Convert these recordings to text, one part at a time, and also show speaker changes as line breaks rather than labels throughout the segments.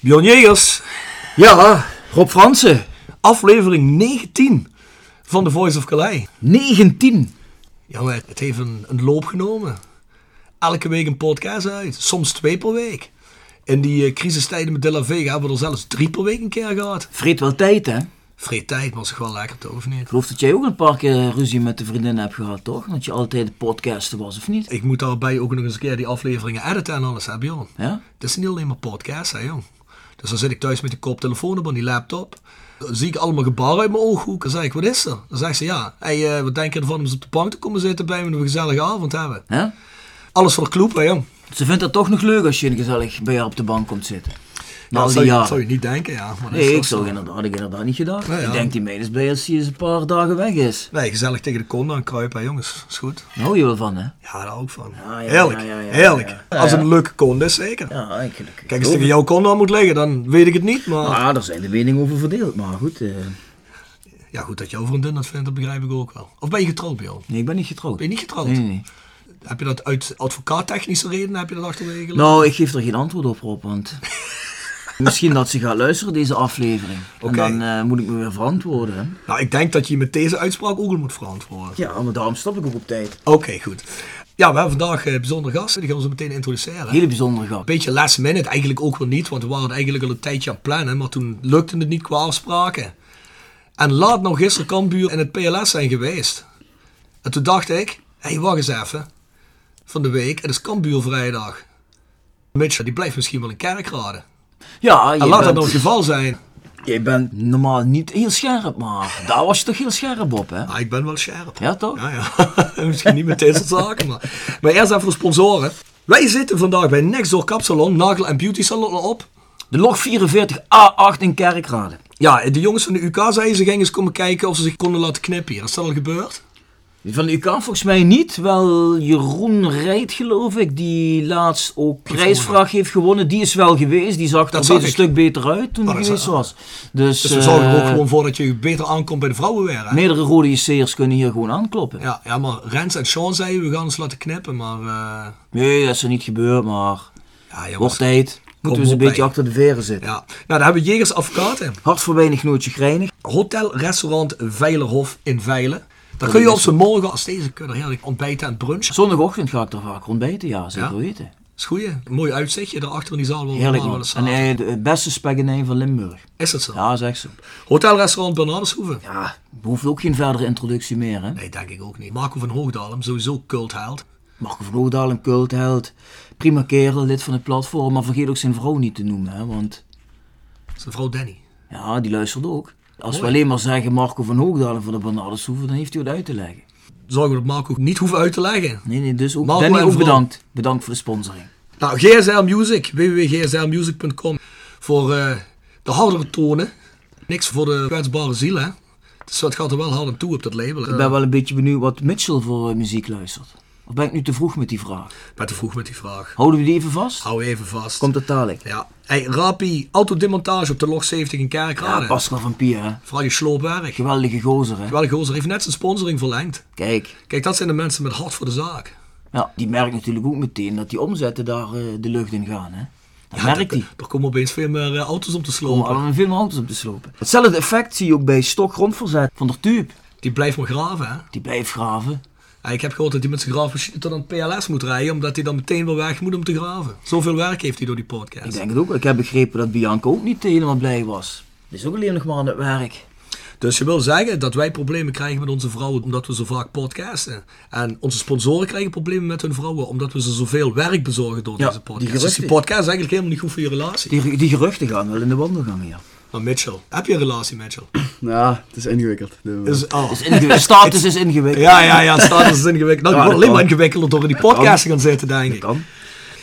Bjorn Jegers,
Ja,
Rob Fransen, aflevering 19 van The Voice of Calais.
19.
Jongen, het heeft een, een loop genomen. Elke week een podcast uit, soms twee per week. In die eh, crisistijden met De La Vega hebben we er zelfs drie per week een keer gehad.
Vreet wel tijd, hè? Ik
Vreet tijd, maar zich wel lekker te of niet?
geloof dat jij ook een paar keer eh, ruzie met de vriendin hebt gehad, toch? Dat je altijd de podcasten was, of niet?
Ik moet daarbij ook nog eens een keer die afleveringen editen en alles, hè Bjorn?
Ja?
Het is niet alleen maar podcast, hè jong. Dus dan zit ik thuis met die koptelefoon op aan die laptop. Dan zie ik allemaal gebaren uit mijn ooghoek. Dan zeg ik, wat is er? Dan zegt ze, ja, hey, eh, wat denk je ervan om eens op de bank te komen zitten bij me en een gezellige avond hebben?
Hè?
Alles voor de kloep, hè jong.
Ze vindt dat toch nog leuk als je gezellig bij haar op de bank komt zitten. Na
dat
al die
zou je,
jaren.
zou je niet denken, ja. Maar dat is
Nou, Nee,
toch
ik
zo.
zou inderdaad, had ik inderdaad niet gedacht.
Nou ja.
Ik denk die meid is blij als hij eens een paar dagen weg is.
Nee, gezellig tegen de kont aan kruipen, hè, jongens. Is goed.
Daar hou je wel van, hè?
Ja, daar hou ik van.
Ja, ja,
heerlijk,
ja, ja, ja,
heerlijk.
ja, ja.
Als het
Ja,
een leuke kont is, zeker.
Ja, ik gelukkig.
Kijk, als het tegen jouw kont aan moet liggen, dan weet ik het niet. Maar
Ah, daar zijn de meningen over verdeeld, maar goed. eh,
ja, goed, dat jouw vriendin dat vindt, dat begrijp ik ook wel. Of ben je getrouwd, Bjorn?
Nee, ik ben niet getrouwd.
Ben je niet getrouwd?
Nee, nee, nee.
Heb je dat uit advocaattechnische redenen heb je dat achterwege gelaten?
Nou, ik geef er geen antwoord op, Rob, want misschien dat ze gaat luisteren deze aflevering.
Oké.
En dan eh, moet ik me weer verantwoorden. hè.
Nou, ik denk dat je met deze uitspraak ook al moet verantwoorden.
Ja, maar daarom stop ik ook op tijd.
Oké, goed. Ja, we hebben vandaag eh, bijzondere gasten. Die gaan we zo meteen introduceren. Een
Hele bijzondere grap.
beetje last minute eigenlijk ook wel niet. Want we waren eigenlijk al een tijdje aan het plannen. Maar toen lukte het niet qua afspraken. En laat nog gisteren Kambuur in het PLS zijn geweest. En toen dacht ik, hé, hey, wacht eens even. Van de week, het is Kambuur vrijdag. Mitch, die blijft misschien wel in kerkraden.
Ja,
En laat
je
dat
bent,
nou het geval zijn.
je bent normaal niet heel scherp, maar daar was je toch heel scherp op, hè?
Ah, ik ben wel scherp.
Ja, toch?
Ja, ja. Misschien niet met deze zaken, maar. Maar eerst even de sponsoren. Wij zitten vandaag bij Nextdoor Kapsalon, Nagel en Beauty Salon op.
De log 44 A8 in Kerkrade.
Ja, de jongens van de UK zeiden ze gingen eens komen kijken of ze zich konden laten knippen hier. Is dat al gebeurd?
Van de UK volgens mij niet, wel Jeroen Rijt geloof ik, die laatst ook prijsvraag heeft gewonnen. Die is wel geweest, die zag er
zag
een
ik.
stuk beter uit toen
Oh,
hij
dat is-
geweest was. Dus,
Dus we zorgen er
eh,
ook gewoon voor dat je beter aankomt bij de vrouwen weer. hè?
Meerdere rode IC'ers kunnen hier gewoon aankloppen.
Ja, ja, maar Rens en Sean zeiden we gaan eens laten knippen, maar... eh,
Nee, dat is er niet gebeurd, maar
ja, jongens.
wordt tijd. Moeten we eens
op,
een beetje
hè.
achter de veren zitten.
Ja, nou daar hebben we Jegers Advocaten.
Hart voor weinig nootje grijnig.
Hotel, restaurant Veilerhof in Veilen. Daar kun je op z'n morgen als deze kunnen heerlijk ontbijten en brunchen.
Zondagochtend ga ik er vaak rondbijten, ja, zeker
Ja? Oh,
weten.
is goeie. Een mooi uitzichtje daarachter in die zaal. waar we
Heerlijk
normaal
man.
wel
En
eens zaten.
eh, de beste spaghetti van Limburg.
Is dat zo?
Ja, zeg ze.
Hotelrestaurant Bernardeshoeve?
Ja, behoeft ook geen verdere introductie meer hè.
Nee, denk ik ook niet. Marco van Hoogdalem, sowieso cultheld.
Marco van Hoogdal, een cultheld. Prima kerel, lid van het platform, maar vergeet ook zijn vrouw niet te noemen hè, want
Zijn vrouw Danny.
ja, die luistert ook. Als we
Mooi.
alleen maar zeggen Marco van Hoogdalen van de Bernardeshoeven, dan heeft hij wat uit te leggen.
Zorgen we dat Marco niet hoeven uit te leggen.
Nee, nee, dus ook
Marco
Danny
en
ook
Vron.
bedankt. Bedankt voor de sponsoring.
Nou, GSL Music, www.gslmusic.com. Voor eh, de hardere tonen. Niks voor de kwetsbare ziel, hè. Dus dat gaat er wel hard aan toe op dat label.
Ik ben wel een beetje benieuwd wat Mitchell voor eh, muziek luistert. Of ben ik nu te vroeg met die vraag?
Maar te vroeg met die vraag.
Houden we die even vast?
Hou even vast.
Komt het dadelijk?
Ja. Hey, Rapi, autodemontage op de log 70 in Kerkrade.
Ja, Pascal van Pier, hè?
Vooral je sloopwerk.
Geweldige gozer, hè?
Wel, Gozer heeft net zijn sponsoring verlengd.
Kijk,
Kijk, dat zijn de mensen met hart voor de zaak.
ja, die merkt natuurlijk ook meteen dat die omzetten daar eh, de lucht in gaan, hè? Dat merkt hij.
Er komen opeens veel meer eh, auto's om te
Om
slopen.
allemaal veel meer auto's op te slopen. Hetzelfde effect zie je ook bij stokgrondverzet van der Tuup.
Die blijft maar graven, hè?
Die blijft graven.
En ik heb gehoord dat hij met zijn graafmachine tot aan het PLS moet rijden, omdat hij dan meteen weer weg moet om te graven. Zoveel werk heeft hij door die
Ik
podcast.
denk het ook. Ik heb begrepen dat Bianca ook niet helemaal blij was. Die is ook alleen nog maar aan het werk.
Dus je wil zeggen dat wij problemen krijgen met onze vrouwen omdat we zo vaak podcasten. En onze sponsoren krijgen problemen met hun vrouwen omdat we ze zoveel werk bezorgen door
Ja,
deze
die
podcast.
geruchten.
dus die podcast is eigenlijk helemaal niet goed voor je relatie.
Die, die geruchten gaan wel in de wandelgang hier.
Maar Mitchell, heb je een relatie, Mitchell?
Ja, het is ingewikkeld. Doen we.
Is, oh.
Het is ingewikkeld. Status is ingewikkeld.
Ja, ja, ja, status is ingewikkeld. Nou, die
Ja,
wordt
dat
alleen maar
kan.
ingewikkelder door in die podcast te gaan zitten, denk ik.
kan.
Nou,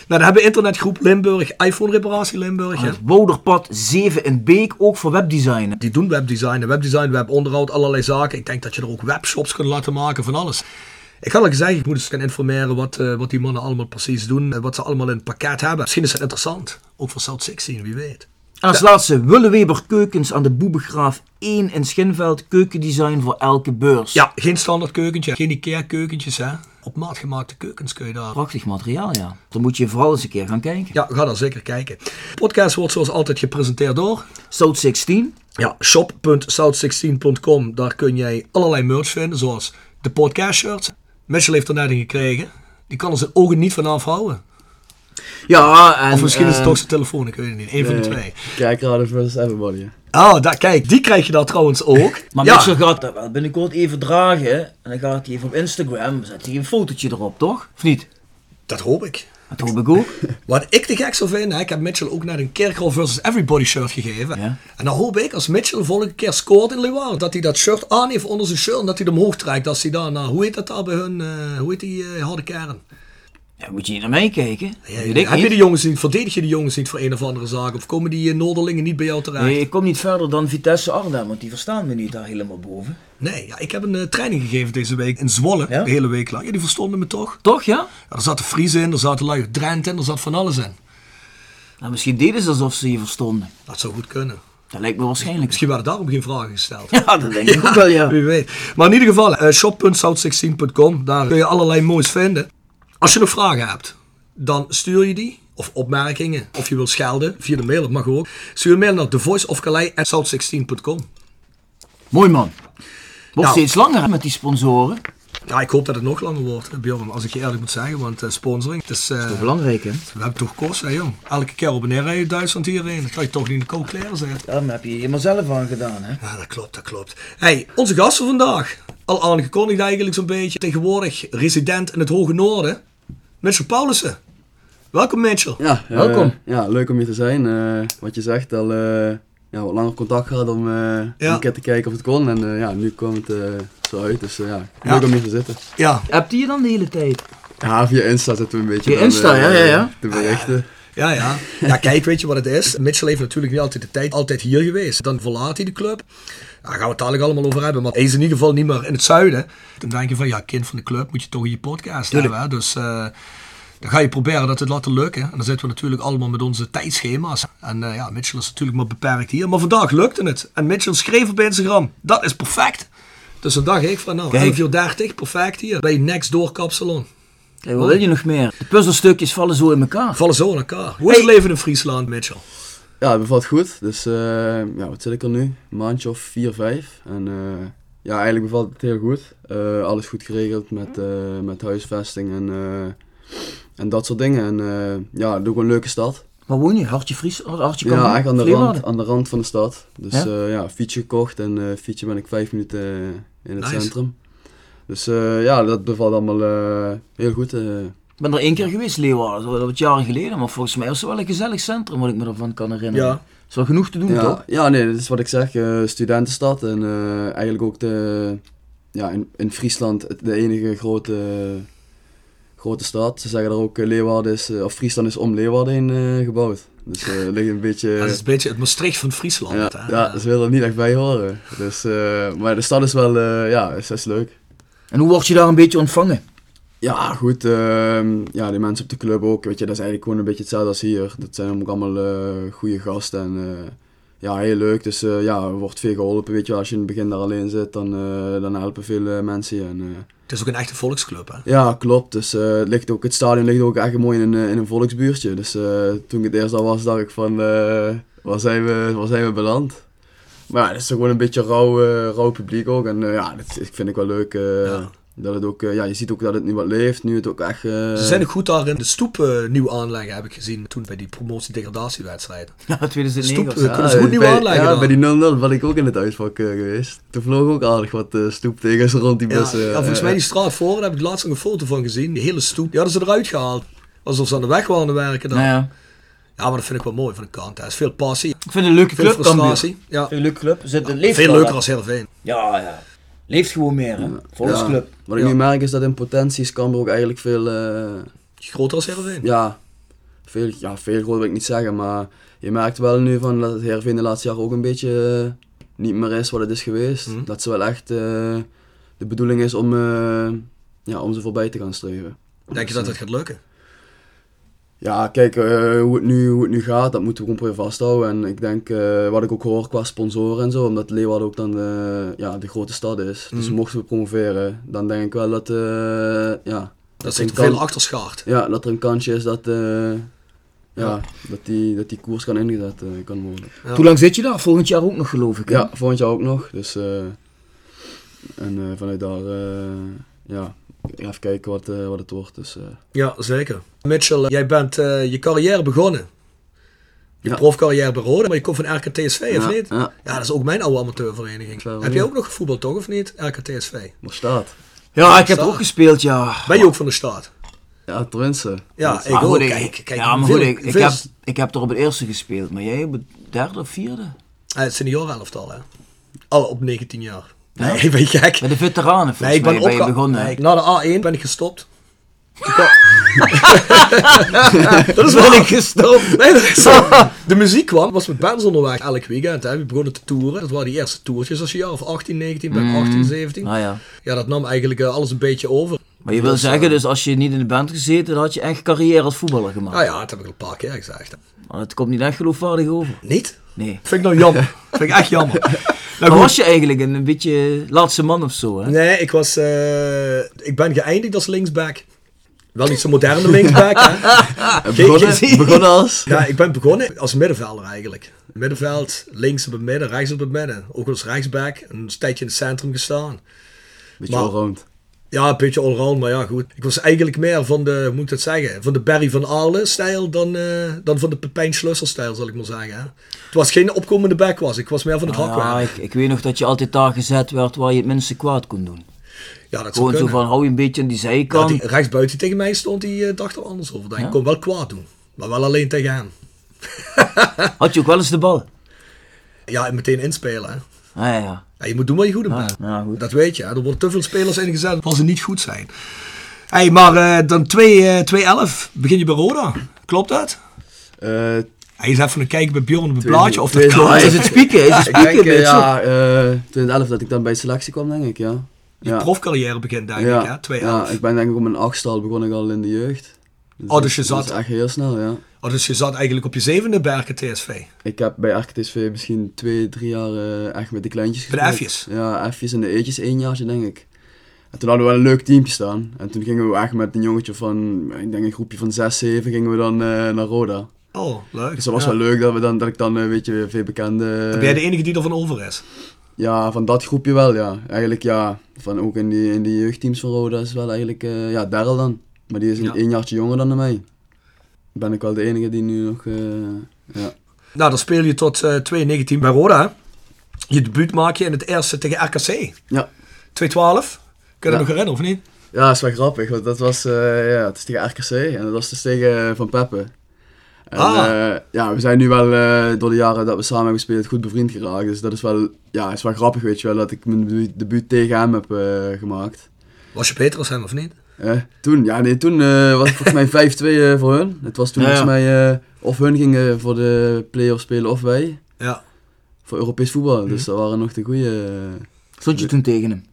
dan hebben we internetgroep Limburg, iPhone reparatie Limburg. hè.
Ah,
Het Wouderpad 7 in Beek, ook voor webdesign.
Die doen webdesign, en webdesign, webonderhoud, allerlei zaken. Ik denk dat je er ook webshops kunt laten maken van alles. Ik had al gezegd, ik moet eens gaan informeren wat, eh, wat die mannen allemaal precies doen en wat ze allemaal in het pakket hebben. Misschien is dat interessant, ook voor South 16, wie weet.
En als laatste Willeweber Keukens aan de Boebegraaf 1 in Schinveld. Keukendesign voor elke beurs.
Ja, geen standaard keukentje, geen Ikea keukentjes hè. op maat gemaakte keukens kun je daar.
Prachtig materiaal, ja. Dan moet je vooral eens een keer gaan kijken.
Ja, ga dan zeker kijken. Podcast wordt zoals altijd gepresenteerd door
Stout 16.
ja, shop.south16.com. Daar kun jij allerlei merch vinden, zoals de podcast shirts. Mitchell heeft er net een gekregen. Die kan er zijn ogen niet van afhouden.
Ja, en...
Of misschien is het
ehm,
toch zijn telefoon, ik weet het niet. Eén van de twee.
Kijk, Raders ehm, eh, versus Everybody. hè.
Oh, daar, kijk, die krijg je daar trouwens ook.
Maar
ja.
Mitchell gaat dat wel binnenkort even dragen. En dan gaat hij even op Instagram, zet hij een fotootje erop, toch? Of niet?
Dat hoop ik.
Dat hoop ik ook.
Wat ik te gek zou vinden, hè, ik heb Mitchell ook naar een Kerkhoff versus Everybody shirt gegeven.
Ja.
En dan hoop ik, als Mitchell de volgende keer scoort in Leeuwarden, dat hij dat shirt aan heeft onder zijn shirt en dat hij hem omhoog trekt. Als hij daar naar, hoe heet dat daar bij hun, eh, hoe heet die eh, harde kern?
Ja, moet je niet naar mij kijken?
Ja,
Dat weet ik
heb je
niet.
de jongens niet, verdedig je de jongens niet voor een of andere zaak? Of komen die eh, Noorderlingen niet bij jou terecht?
Nee, ik kom niet verder dan Vitesse Arnhem, want die verstaan me niet daar helemaal boven.
Nee, ja, ik heb een eh, training gegeven deze week in Zwolle,
Ja?
de hele week lang. Ja, die verstonden me toch?
Toch, ja?
Ja, er zaten Friese in, er zaten lui uit Drenthe in, er zat van alles in.
Nou, misschien deden ze alsof ze je verstonden.
Dat zou goed kunnen.
Dat lijkt me waarschijnlijk.
Misschien werden daarom geen vragen gesteld.
Ja, dat denk ik ook wel, ja.
Wie weet. Maar in ieder geval, eh shop.south16.com, daar kun je allerlei moois vinden. Als je nog vragen hebt, dan stuur je die. Of opmerkingen. Of je wil schelden, via de mail, dat mag ook. Stuur een mail naar thevoiceofcalais.south16.com.
Mooi man.
Nou.
Wordt steeds langer hè, met die sponsoren.
Ja, ik hoop dat het nog langer wordt, eh, Bjorn, als ik je eerlijk moet zeggen. Want eh, sponsoring, het is, eh,
Belangrijk, hè?
we hebben toch kosten, hè, jong. Elke keer op en neer rijden Duitsland hierheen. Dan kan je toch niet in de koude kleren zijn.
Ja, daar heb je helemaal zelf aan gedaan, hè?
Ja, dat klopt, dat klopt. hey, onze gast van vandaag. Al aangekondigd eigenlijk zo'n beetje. Tegenwoordig resident in het Hoge Noorden. Mitchell Paulussen. Welkom Mitchell.
Ja, eh,
Welkom.
ja, leuk om hier te zijn. Eh, wat je zegt, al eh, ja, wat langer contact gehad om eh,
Ja.
een keer te kijken of het kon. En eh, ja, nu kwam het eh, zo uit. Dus eh, ja,
Ja.
leuk om hier te zitten.
Ja,
Hebt die je dan de hele tijd?
Ja, via Insta zitten we een beetje
Via
dan,
Insta,
eh,
ja, ja, ja.
de berichten.
ja, ja. Ja, kijk, weet je wat het is? Mitchell heeft natuurlijk niet altijd de tijd altijd hier geweest. Dan verlaat hij de club. Daar gaan we het dadelijk allemaal over hebben. Maar hij is in ieder geval niet meer in het zuiden. Dan denk je van, ja, kind van de club moet je toch in je podcast hebben. Hè? Dus... eh, dan ga je proberen dat het laten lukken. En dan zitten we natuurlijk allemaal met onze tijdschema's. En eh, ja, Mitchell is natuurlijk maar beperkt hier. Maar vandaag lukte het. En Mitchell schreef op Instagram, dat is perfect. Dus dan dacht ik van nou,
Kijk.
11 uur 30, perfect hier. Bij Next Door Kapsalon.
Kijk, wat wil je nog meer? De puzzelstukjes vallen zo in elkaar.
Vallen zo aan elkaar. Hoe is het leven in Friesland, Mitchell?
Ja, het bevalt goed. Dus eh, ja, wat zit ik er nu? Een maandje of vier, vijf. En eh, ja, eigenlijk bevalt het heel goed. Eh, alles goed geregeld met, eh, met huisvesting en, eh, en dat soort dingen. En eh, ja, het is ook een leuke stad.
Waar woon je? Hartje Fries? Hartje Kampen?
Ja, echt aan de,
Leeuwarden?
rand, aan de rand van de stad.
Ja?
Dus ja, ja fietsje gekocht en eh fietsje ben ik vijf minuten eh, in het
Nice.
centrum. Dus eh, ja, dat bevalt allemaal eh, heel goed. eh.
Ik ben er één keer geweest, Leeuwarden. Dat was wat jaren geleden. Maar volgens mij was het wel een gezellig centrum, wat ik me ervan kan herinneren.
Ja.
Is wel genoeg te doen,
ja,
toch?
ja, nee, dat is wat ik zeg. eh, studentenstad en eh, eigenlijk ook de, ja, in, in Friesland het- de enige grote, grote stad. Ze zeggen er ook eh, Leeuwarden is, eh, of Friesland is om Leeuwarden heen eh, gebouwd. Dus eh ligt een beetje...
Dat is een beetje het Maastricht van Friesland.
Ja,
hè?
ja, ze willen er niet echt bij horen. Dus, eh, maar de stad is wel, eh, ja, is, is leuk.
En hoe word je daar een beetje ontvangen?
Ja, goed. ehm, ja, die mensen op de club ook. Weet je, dat is eigenlijk gewoon een beetje hetzelfde als hier. Dat zijn ook allemaal eh, goede gasten. En, eh, ja, heel leuk. Dus eh, ja, er wordt veel geholpen. Weet je, wel. als je in het begin daar alleen zit, dan, eh, dan helpen veel eh, mensen je. En, eh,
Het is ook een echte volksclub. Hè?
ja, klopt. Dus eh, het, ligt ook, het stadion ligt ook echt mooi in een, eh, in een volksbuurtje. Dus eh, toen ik het eerst al was, dacht ik van, eh, waar, zijn we, waar zijn we beland? Maar ja, het is toch gewoon een beetje rauw, eh, rauw publiek ook. En eh, ja, dat is- ik vind ik wel leuk. eh,
Ja.
Dat het ook, eh, ja, je ziet ook dat het nu wat leeft. Nu het ook echt... eh,
Ze zijn ook goed daar in de stoep eh, nieuw aanleggen, heb ik gezien toen bij die promotie-degradatiewedstrijd.
Ja, 2009
Stoep,
of zo.
eh, kunnen ze goed nieuw
bij,
aanleggen
Ja,
dan.
bij die 0-0 ben ik ook in het uitvak eh, geweest. Toen vloog ook aardig wat eh, stoeptegels rond die
Ja,
bussen.
ja, volgens
eh,
mij die straat voor, daar heb ik laatst nog een foto van gezien. Die hele stoep, die hadden ze eruit gehaald. Alsof ze aan de weg waren te werken. Dan.
Nou ja.
Ja, maar dat vind ik wel mooi van de kant. Er is veel passie,
Ik vind het een leuke
veel
club, Cambuur.
frustratie. Ja.
Veel leuke club. Zit, het leeft
Veel
wel,
leuker
hè?
als Heerenveen.
Ja, ja. Leeft gewoon meer, hè? Volksclub.
ja, Wat ik
Ja.
nu merk is dat in potentie is Cambuur ook eigenlijk veel... eh,
Groter als Heerenveen.
Ja, veel, ja, veel groot wil ik niet zeggen, maar je merkt wel nu van dat het Heerenveen de laatste jaren ook een beetje eh, niet meer is wat het is geweest.
Mhm.
Dat ze wel echt eh, de bedoeling is om, eh, ja, om ze voorbij te gaan streven.
Denk je dat dat gaat lukken?
Ja, kijk, eh, hoe, het nu, hoe het nu gaat, dat moeten we gewoon proberen vasthouden. En ik denk, eh, wat ik ook hoor qua sponsoren en zo, omdat Leeuwarden ook dan eh, ja, de grote stad is. Dus
Mhm.
mochten we promoveren, dan denk ik wel dat, eh, ja,
Dat
er
zit
een
veel
kan-
achterschaart.
ja, dat er een kansje is dat, eh, ja,
Ja.
dat, die, dat die koers kan ingezet eh, kan worden.
Ja.
Hoe lang zit je daar? Volgend jaar ook nog geloof ik. hè?
Ja, volgend jaar ook nog. Dus, eh, en eh, vanuit daar, eh, ja, even kijken wat, eh, wat het wordt. Dus, eh,
Ja, zeker. Mitchell, jij bent eh, je carrière begonnen. Je
Ja.
profcarrière bij Roda, maar je komt van RKTSV, of
ja,
niet?
Ja,
Ja, dat is ook mijn oude amateurvereniging.
Ik wel,
Heb jij
ja.
ook nog gevoetbald, toch, of niet? RKTSV.
maar staat.
Ja, ik heb er ook gespeeld, ja.
Ben je ook van de staat?
Ja, tenminste.
Ja, ik
Maar
ook.
goed,
Kijk, kijk,
ja, maar
veel-
goed, ik, ik,
veel-
heb, ik heb er op het eerste gespeeld, maar jij op het derde of vierde?
Eh, het seniorenelftal, hè? Alle op 19 jaar. Nee, ik ben je gek.
Bij de veteranen volgens
Nee, ik ben,
mij ben je
opge-
begonnen.
Nee, ik- na de A1 ben ik gestopt. Ik kwam- dat is wel ik gestopt. Nee, dat is zo. De muziek kwam, was met bands onderweg elk weekend. Hè. We begonnen te toeren. Dat waren die eerste toertjes als je jaar of 18, 19 bent, 18, 17.
Nou ja.
Ja, dat nam eigenlijk eh, alles een beetje over.
Maar je wil zeggen, dus als je niet in de band gezeten, dan had je echt carrière als voetballer gemaakt.
Nou ja, dat heb ik al een paar keer gezegd.
Maar het komt niet echt geloofwaardig over.
Niet?
Nee.
Vind ik nou jammer. Vind ik echt jammer. Nou
Maar was je eigenlijk een, een beetje laatste man of zo, hè?
Nee, ik was... eh, ik ben geëindigd als linksback. Wel niet zo'n moderne linksback, hè.
Eh, Begonnen,
Geen-
begonnen als?
Ja, ik ben begonnen als middenvelder eigenlijk. Middenveld, links op het midden, rechts op het midden. Ook als rechtsback, een tijdje in het centrum gestaan.
Beetje
Maar-
allround.
Ja, een beetje allround, maar ja, goed. Ik was eigenlijk meer van de, hoe moet ik dat zeggen, van de Barry van Aalen-stijl dan, eh, dan van de Pepijn Schlussel-stijl, zal ik maar zeggen. Hè. Het was geen opkomende back, was. ik was meer van het
Nou ja,
hakwerk.
ik, ik weet nog dat je altijd daar gezet werd waar je het minste kwaad kon doen.
Ja, dat zou
Gewoon zo
kunnen.
van, hou je een beetje aan die
Ja,
zijkant.
die rechtsbuiten die tegen mij stond, die eh, dacht er anders over. Ik kon wel kwaad doen, maar wel alleen tegen hem.
Had je ook wel eens de bal?
Ja, en meteen inspelen. Hè.
Ah ja, ja.
Ja, je moet doen wat je goed in bent.
Nou goed.
Dat weet je, hè. er worden te veel spelers ingezet als ze niet goed zijn. hey, maar eh, dan 2-11 begin je bij Roda. Klopt dat?
Eh,
Hij is even aan het kijken bij Bjorn op het blaadje of dat
Twee-
klopt.
Ah, is het spieken? Is het
ik
spieken
denk, eh,
Mitchell?
ja, eh 2011 dat ik dan bij selectie kwam, denk ik, ja.
Je
ja.
profcarrière begint denk ik, hè? 2-11.
ja, ik ben denk ik op mijn achtste al begon ik al in de jeugd. Dus
Oh,
dat-
dus je
dat
zat-
is echt heel snel, ja.
Oh, dus je zat eigenlijk op je zevende berken TSV.
Ik heb bij RKTSV misschien twee, drie jaar eh, echt met de kleintjes
Bij de
gespeeld.
F'jes?
Ja, F'jes en de E'tjes, één jaartje denk ik. En toen hadden we wel een leuk teampje staan. En toen gingen we echt met een jongetje van, ik denk een groepje van zes, zeven, gingen we dan eh, naar Roda.
Oh, leuk.
Dus dat was
Ja.
wel leuk dat, we dan, dat ik dan, eh, weet je, veel bekende...
Ben jij de enige die ervan over is?
Ja, van dat groepje wel, ja. Eigenlijk ja, van ook in die, in die jeugdteams van Roda is wel eigenlijk, eh, ja, Daryl dan. Maar die is een
Ja.
één jaartje jonger dan mij. Ben ik wel de enige die nu nog, eh, ja.
Nou, dan speel je tot eh 2-19 bij Roda. hè? Je debuut maak je in het eerste tegen RKC.
Ja.
2-12. Kun je dat
Ja.
nog herinneren of niet?
Ja, dat is wel grappig, want dat was, eh, ja, het is tegen RKC en dat was dus tegen Van Peppe. En,
Ah.
eh, ja, we zijn nu wel eh, door de jaren dat we samen hebben gespeeld goed bevriend geraakt. Dus dat is wel, ja, is wel grappig, weet je wel, dat ik mijn debu- debuut tegen hem heb eh, gemaakt.
Was je beter als hem of niet?
Eh, toen, ja, nee, toen eh, was het volgens mij 5-2 eh, voor hun. Het was toen
Ja, ja.
volgens mij, eh, of hun gingen voor de play-offs spelen of wij,
Ja.
voor Europees voetbal. Dus dat waren nog de goede.
Stond je toen tegen hem?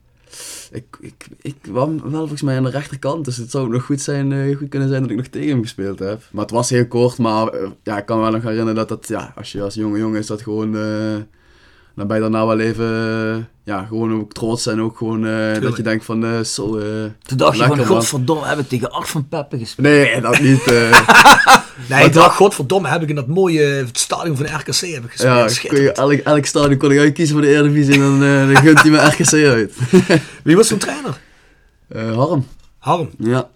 ik, ik, ik kwam wel volgens mij aan de rechterkant, dus het zou ook nog goed, zijn, eh, goed kunnen zijn dat ik nog tegen hem gespeeld heb. Maar het was heel kort, maar eh, ja, ik kan me wel nog herinneren dat dat, ja, als je als jonge jongen is dat gewoon, eh, dan ben je daarna wel even, eh, ja, gewoon ook trots en ook gewoon eh, dat je denkt van, eh, zo, eh,
Toen dacht je
lekker,
van,
man.
godverdomme, hebben we tegen Art van Peppe gespeeld.
Nee, dat niet. eh.
Nee, ik dacht, godverdomme, heb ik in dat mooie stadion van de RKC heb ik gespeeld.
ja, kon je,
Schitterend.
elk, elk stadion kon ik uitkiezen voor de Eredivisie en dan, eh, dan gunt hij me RKC uit.
Wie was zo'n trainer?
Eh, Harm,
Harm.
ja.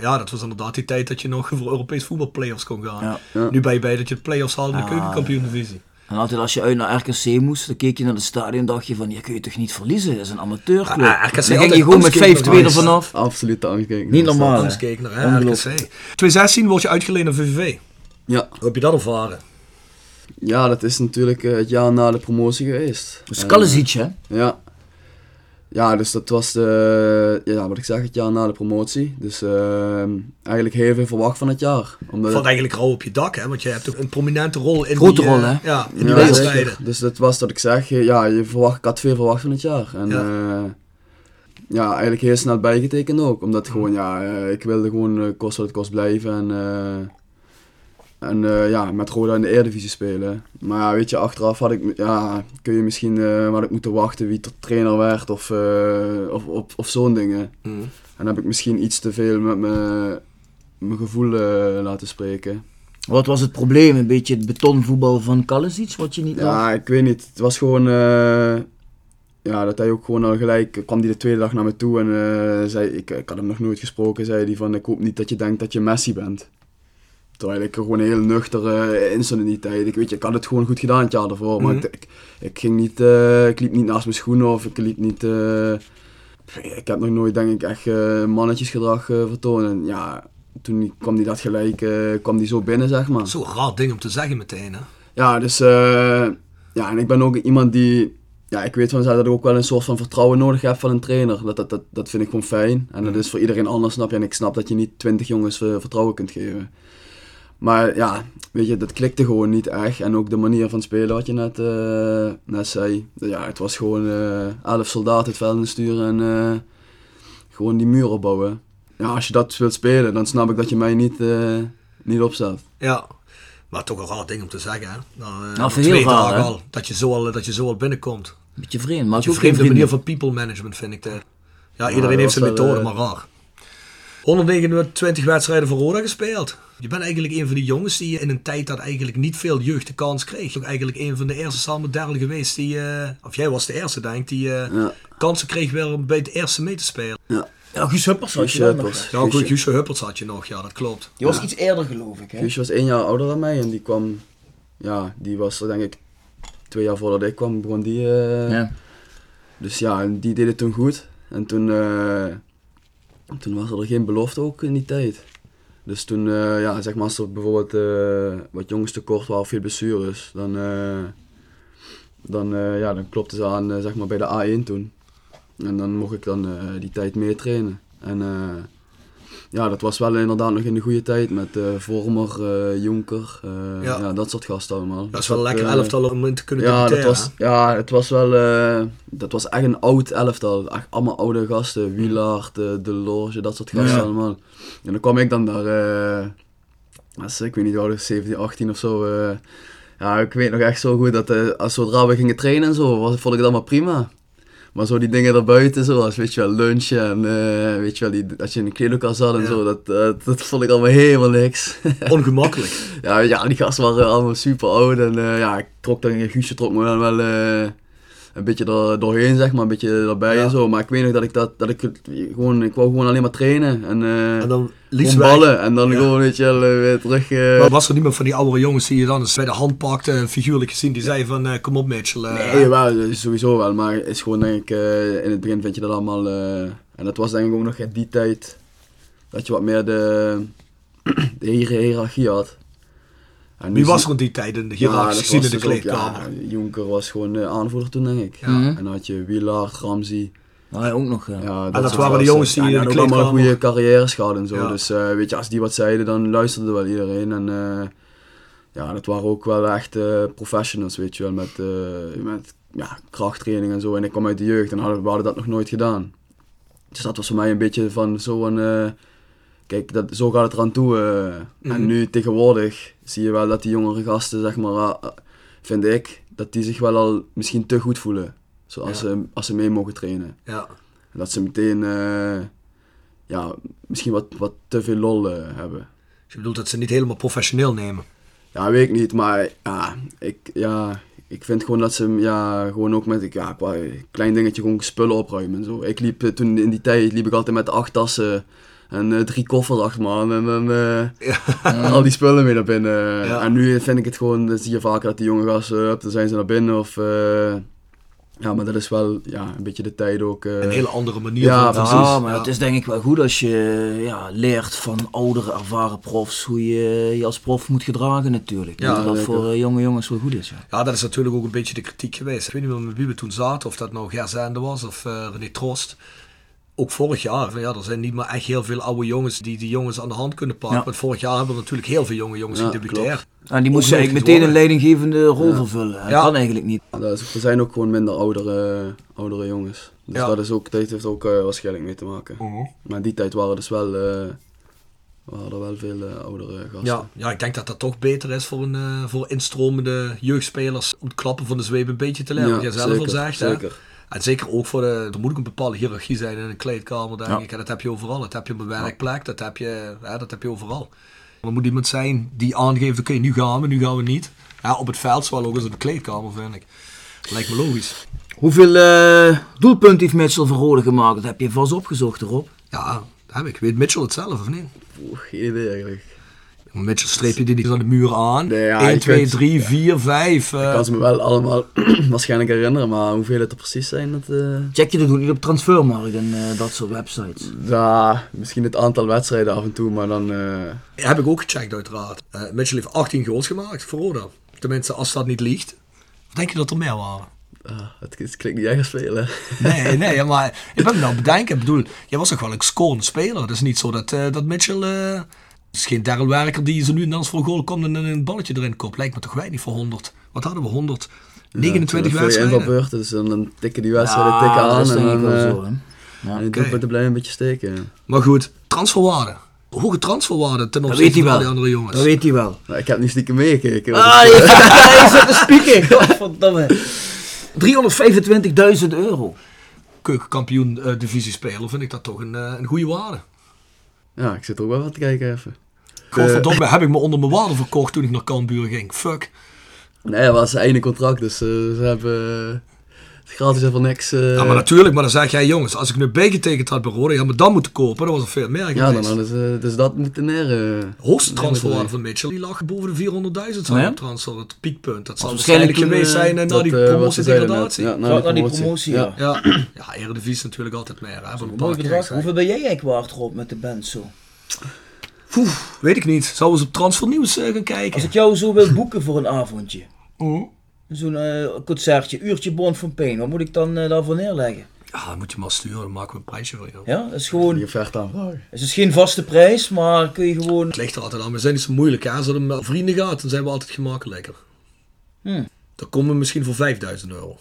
Ja, dat was inderdaad die tijd dat je nog voor Europees voetbalplayoffs kon gaan.
Ja.
Ja.
Nu ben je bij dat je de playoffs haalde in de
Ah,
keukenkampioen-divisie.
En altijd als je uit naar RKC moest, dan keek je naar het stadion en dacht je van, ja kun je toch niet verliezen, dat is een amateurclub.
Ah, RKC
dan ging je
altijd
gewoon met
angstgevend
5-2 er
geweest.
vanaf.
Absoluut de angstgegner.
Niet normaal. Ah, Ja.
Anders keek naar hè,
Ongelooflijk.
RKC. 2016 word je uitgeleend naar VVV.
Ja.
Hoe heb je dat ervaren?
ja, dat is natuurlijk eh, het jaar na de promotie geweest.
Dus
En,
Kalisic, hè?
Ja. Ja, dus dat was de, ja, wat ik zeg, het jaar na de promotie. Dus ehm, eigenlijk heel veel verwacht van het jaar. Omdat
Valt eigenlijk rauw op je dak, hè? Want je hebt ook een prominente rol in
Grote
die, eh,
rol, hè?
Ja, in die
Ja,
wedstrijden.
zeker. Dus dat was dat ik zeg, je- ja, je verwacht, ik had veel verwacht van het jaar. En
Ja.
ja, ja eigenlijk heel snel bijgetekend ook. Omdat gewoon, ja, eh, ik wilde gewoon eh, kost wat het kost blijven. En eh, En eh, ja, met Roda in de Eredivisie spelen. Maar ja, weet je, achteraf had ik, ja, kun je misschien eh had ik moeten wachten wie tot trainer werd of, eh, of, of, of zo'n dingen.
Mm.
En heb ik misschien iets te veel met mijn- mijn gevoel eh, laten spreken.
Wat was het probleem? Een beetje het betonvoetbal van Kalisic, wat je niet laat?
Ja, ik weet niet. Het was gewoon. eh, ja, dat hij ook gewoon al gelijk. eh, kwam hij de tweede dag naar me toe en eh, zei. Ik, ik had hem nog nooit gesproken. zei hij van. Ik hoop niet dat je denkt dat je Messi bent. Terwijl ik er gewoon heel nuchter eh, in stond in die tijd. Ik weet je, ik had het gewoon goed gedaan het jaar ervoor. Maar
Mhm.
ik, ik, ik ging niet. eh, ik liep niet naast mijn schoenen of ik liep niet. eh, ik heb nog nooit, denk ik, echt eh, mannetjesgedrag eh, vertoond. En ja, toen kwam hij dat gelijk. eh, kwam hij zo binnen, zeg maar.
Zo'n raar ding om te zeggen meteen, hè?
Ja, dus eh, ja, en ik ben ook iemand die, ja, ik weet van mezelf dat ik ook wel een soort van vertrouwen nodig heb van een trainer. Dat, dat, dat, dat vind ik gewoon fijn. En
Mhm.
dat is voor iedereen anders, snap je. En ik snap dat je niet twintig jongens eh, vertrouwen kunt geven. Maar ja, weet je, dat klikte gewoon niet echt. En ook de manier van spelen wat je net, eh, net zei. Ja, het was gewoon eh, elf soldaten het veld insturen en eh, gewoon die muur opbouwen. Ja, als je dat wilt spelen, dan snap ik dat je mij niet, eh, niet opzet.
Ja. Maar toch een raar ding om te zeggen, hè? Nou, eh,
Nou,
na
veel
twee
raar,
dagen
hè?
al. Dat je zo al, dat je zo al binnenkomt.
Beetje vreemd, maar het
Je
is ook geen
vreemde manier
vriendelijk.
van people management vind ik. dat. Ja,
Ja,
iedereen
dat
heeft zijn
was wel,
methode, maar
eh,
raar. 129 wedstrijden voor Roda gespeeld. Je bent eigenlijk een van die jongens die in een tijd dat eigenlijk niet veel jeugd de kans kreeg. Ook eigenlijk een van de eerste samen derden geweest die, eh, of jij was de eerste denk ik, die eh,
Ja,
kansen kreeg wel om bij het eerste mee te spelen.
Ja, Guus Huppers had je
Guus
dan nog.
Huppers.
hè?
Ja, ook goed, Guusje Huppels had je nog, ja dat klopt.
Die was iets eerder geloof ik hè?
Guusje was één jaar ouder dan mij en die kwam, ja, die was er denk ik twee jaar voordat ik kwam, begon die. eh,
Ja.
Dus ja, en die deed het toen goed. En toen, eh, toen was er geen belofte ook in die tijd. Dus toen, eh, ja, zeg maar, als er bijvoorbeeld eh, wat jongens tekort waren of veel blessures, dan, eh, dan, eh, ja, dan klopte ze aan eh, zeg maar bij de A1 toen. En dan mocht ik dan eh, die tijd meer trainen. En eh, ja, dat was wel inderdaad nog in de goede tijd met eh, Vormer, eh, Jonker, eh,
Ja.
ja. dat soort gasten allemaal.
Dat is wel
Dus
lekker
eh,
elftal om in te kunnen
ja, dat
debuteren,
was,
hè?
ja, het was wel. eh, dat was echt een oud elftal. Echt allemaal oude gasten. Wielaard, eh, De Loge, dat soort gasten
Ja.
allemaal. En dan kwam ik dan daar. eh, als, ik weet niet hoe oud ik was, 17, 18 of zo. eh, ja, ik weet nog echt zo goed dat eh, als zodra we gingen trainen en zo, was, vond ik het allemaal prima. Maar zo die dingen daarbuiten, zoals weet je wel, lunchen en eh, weet je wel, die, als je in een kleedlokaal zat en
Ja.
zo, dat, eh, dat vond ik allemaal helemaal niks.
Ongemakkelijk.
Ja, ja, die gasten waren allemaal super oud. En eh, ja, ik trok dan, Guusje trok me dan wel eh, een beetje er doorheen, zeg maar. Een beetje erbij
Ja.
en zo. Maar ik weet nog dat ik dat, dat ik het gewoon, ik wou gewoon alleen maar trainen. En, eh
En dan liefst
gewoon
weg.
ballen. En dan
Ja.
gewoon, weet je wel, eh, weer terug. eh,
Maar was er niemand van die oudere jongens die je dan eens bij de hand pakte, en figuurlijk gezien, die zei van eh, kom op Mitchell. eh,
Nee, wel, eh, sowieso wel. Maar het is gewoon denk ik, eh, in het begin vind je dat allemaal. eh, en dat was denk ik ook nog in die tijd dat je wat meer de, de hier- hiërarchie had. En nu
Wie
zie-
was er in die tijd in de
dat
hiërarchie gezien in
was
de
dus ook-
kleedkamer?
ja, Jonker was gewoon eh, aanvoerder toen, denk ik.
Ja.
Mhm.
En dan had je Wielaard, Ramsey.
Nou, ja, ook nog. ja.
Ja,
dat
soort
waren de
gasten.
jongens die
Ja,
in
en
de
ook allemaal
kleedkamer-
goede carrières gehad en zo.
Ja.
Dus eh, weet je, als die wat zeiden, dan luisterde wel iedereen. En eh, ja, dat waren ook wel echt eh, professionals, weet je wel, met, eh, met ja, krachttraining en zo. En ik kwam uit de jeugd en hadden, we hadden dat nog nooit gedaan. Dus dat was voor mij een beetje van zo'n... eh, Kijk, dat, zo gaat het eraan toe. eh.
Mhm.
En nu tegenwoordig zie je wel dat die jongere gasten, zeg maar, eh, vind ik, dat die zich wel al misschien te goed voelen. Zoals
Ja.
ze, als ze mee mogen trainen.
Ja.
En Dat ze meteen eh, ja, misschien wat, wat te veel lol eh, hebben.
Dus Je bedoelt dat ze niet helemaal professioneel nemen.
Ja, weet ik niet, maar ja, ik, ja, ik vind gewoon dat ze ja, gewoon ook met ja, qua klein dingetje gewoon spullen opruimen en zo. Ik liep eh, toen in die tijd liep ik altijd met acht tassen en eh, drie koffers achter me aan en dan eh, al die spullen mee naar binnen.
Ja.
En nu vind ik het gewoon, dan zie je vaker dat die jonge gasten, hup, dan zijn ze naar binnen of... eh, ja, maar dat is wel ja, een beetje de tijd ook. eh,
Een hele andere manier
ja,
van
precies.
Ja, maar
Ja.
het is denk ik wel goed als je ja, leert van oudere, ervaren profs hoe je je als prof moet gedragen natuurlijk.
Ja,
Ja, dat dat
zeker.
voor eh, jonge jongens wel goed is. Ja.
Ja, dat is natuurlijk ook een beetje de kritiek geweest. Ik weet niet meer met wie we toen zaten, of dat nou Gerzende was of eh René Trost. Ook vorig jaar, van ja, er zijn niet meer echt heel veel oude jongens die die jongens aan de hand kunnen pakken.
Ja.
Want vorig jaar hebben we natuurlijk heel veel jonge jongens
Ja,
die debuteren.
En die moesten
Ongelooflijk
eigenlijk meteen een
worden.
leidinggevende rol vervullen. Dat
Ja.
kan eigenlijk niet.
Ja, dat is- er zijn ook gewoon minder oudere, oudere jongens. Dus
Ja.
dat, is ook, dat heeft ook eh, waarschijnlijk mee te maken. Maar in die tijd waren dus wel, eh, we hadden wel veel eh, oudere gasten.
Ja, ja, ik denk dat dat toch beter is voor, een, eh, voor instromende jeugdspelers om het klappen van de zweep een beetje te leren.
Ja,
wat jij zelf al
zeker,
zegt. Hè?
Zeker.
En zeker ook voor de, er moet ook een bepaalde hiërarchie zijn in een kleedkamer, denk
Ja.
ik. En dat heb je overal. Dat heb je op een werkplek, dat heb je, hè, dat heb je overal. Er moet iemand zijn die aangeeft, oké, nu gaan we, nu gaan we niet. Ja, op het veld, zowel ook als in de kleedkamer, vind ik. Lijkt me logisch.
Hoeveel eh doelpunten heeft Mitchell voor Rode gemaakt? Dat heb je vast opgezocht, Rob.
Ja, dat heb ik. Weet Mitchell het zelf of niet?
Oeh, geen idee eigenlijk.
Mitchell streep je die niet aan de muur aan.
Nee, ja,
1,
je
2,
kunt-
3, 4, 5.
Ik kan ze me wel allemaal waarschijnlijk herinneren, maar hoeveel het er precies zijn, dat... eh,
Check je dat ook niet op Transfermarkt en eh, dat soort websites.
ja, misschien het aantal wedstrijden af en toe, maar dan... eh,
Heb ik ook gecheckt, uiteraard. Eh, Mitchell heeft 18 goals gemaakt voor Roda. Tenminste, als dat niet liegt. Of denk je dat er meer waren?
ah, het, het klinkt niet erg spelen.
Nee, nee, maar ik ben me nou bedenken. Ik bedoel, jij was toch wel een scorend speler. Het is niet zo dat, eh, dat Mitchell... eh, het is geen Daryl Werker die zo nu en dan voor goal komt en een balletje erin kopt. Lijkt me toch weinig voor 100. Wat hadden we? 100? 29
wedstrijden.
wedstrijden.
beurt, dus dan, dan tikken die wedstrijden tikken aan
dat is
en
denk ik
dan...
wel
eh,
zo, hè.
En die doelpunten blijven een beetje steken.
Maar goed, transferwaarde. Hoge transferwaarde ten
Dat
opzichte
weet
van
hij
al die
wel.
andere jongens.
Dat weet hij wel.
Nou, ik heb niet stiekem meegekeken. dus,
Ah,
eh,
je hij zit te spieken. Godverdomme. 325.000 euro.
Keukenkampioen eh, divisie spelen vind ik dat toch een, eh, een goede waarde.
ja, ik zit er ook wel wat te kijken even.
Godverdomme, heb ik me onder mijn waarde verkocht toen ik naar Cambuur ging. Fuck.
Nee, dat was zijn einde contract, dus eh, ze hebben eh, het gratis en voor niks. eh,
Ja, maar natuurlijk, maar dan zeg jij jongens, als ik nu bijgetekend had bij Roda, je had me dan moeten kopen, dan was er veel meer geweest.
ja, dan hadden ze dus dat moeten neer. eh.
Hoogste
Ja,
transferwaarde
maar
van Mitchell, die lag boven de 400.000
Ja.
Oh
zijn op transfer, het piekpunt. Dat zal
Was
waarschijnlijk
waarschijnlijk
geweest
toen, eh,
zijn eh, na
dat,
die
eh, wat ze zeiden net.
promotiedegradatie.
Ja,
Ja,
na
Zo,
die
na die
promotie.
promotie, ja.
ja.
ja. Eredivisie is natuurlijk altijd meer, hè, van een paar
Mooi bedrag.
keer.
Hoeveel ben jij eigenlijk waard, Rob, met de band zo?
Weet ik niet, zouden we eens op transfernieuws eh, gaan kijken?
Als ik jou zo wil boeken voor een avondje.
Oh.
Zo'n eh, concertje, uurtje Born van Pain. Wat moet ik dan eh, daarvoor neerleggen?
Ja, dan moet je maar sturen, dan maken we een prijsje voor jou.
Ja, dat is gewoon...
Die vecht aanvragen.
Het is geen vaste prijs, maar kun je gewoon...
Het ligt er altijd aan, we zijn niet zo moeilijk. Hè. Als het om eh, vrienden gaat, dan zijn we altijd gemakkelijker.
Hm.
Dan komen we misschien voor 5000 euro.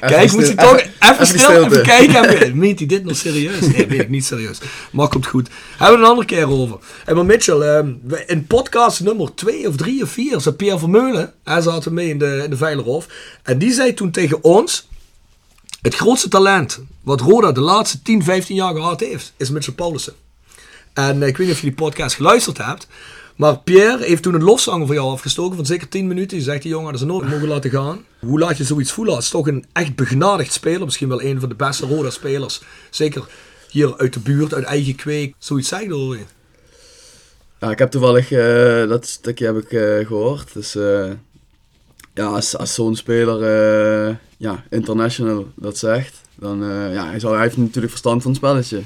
Kijk, moet je toch even stil even kijken. Even, meent hij dit nog serieus? Nee, weet ik niet serieus. Maar komt goed. Hebben we het een andere keer over. En maar Mitchell, ehm, we- in podcast nummer 2 of 3 of 4 zat Pierre Vermeulen. Hij zat mee in de, in de Veilerhof. En die zei toen tegen ons... Het grootste talent wat Roda de laatste 10, 15 jaar gehad heeft, is Mitchell Paulussen. En eh, ik weet niet of je die podcast geluisterd hebt. Maar Pierre heeft toen een lofzang voor jou afgestoken van zeker 10 minuten. Je zegt die jongen, dat is nooit mogen laten gaan. Hoe laat je zoiets voelen? Het is toch een echt begnadigd speler. Misschien wel een van de beste Roda-spelers. Zeker hier uit de buurt, uit eigen kweek. Zoiets zeg je hoor je.
Ja, ik heb toevallig eh, dat stukje heb ik eh, gehoord. Dus eh, ja, als, als zo'n speler eh, ja, international dat zegt, dan eh, ja, hij, zou, hij heeft natuurlijk verstand van het spelletje.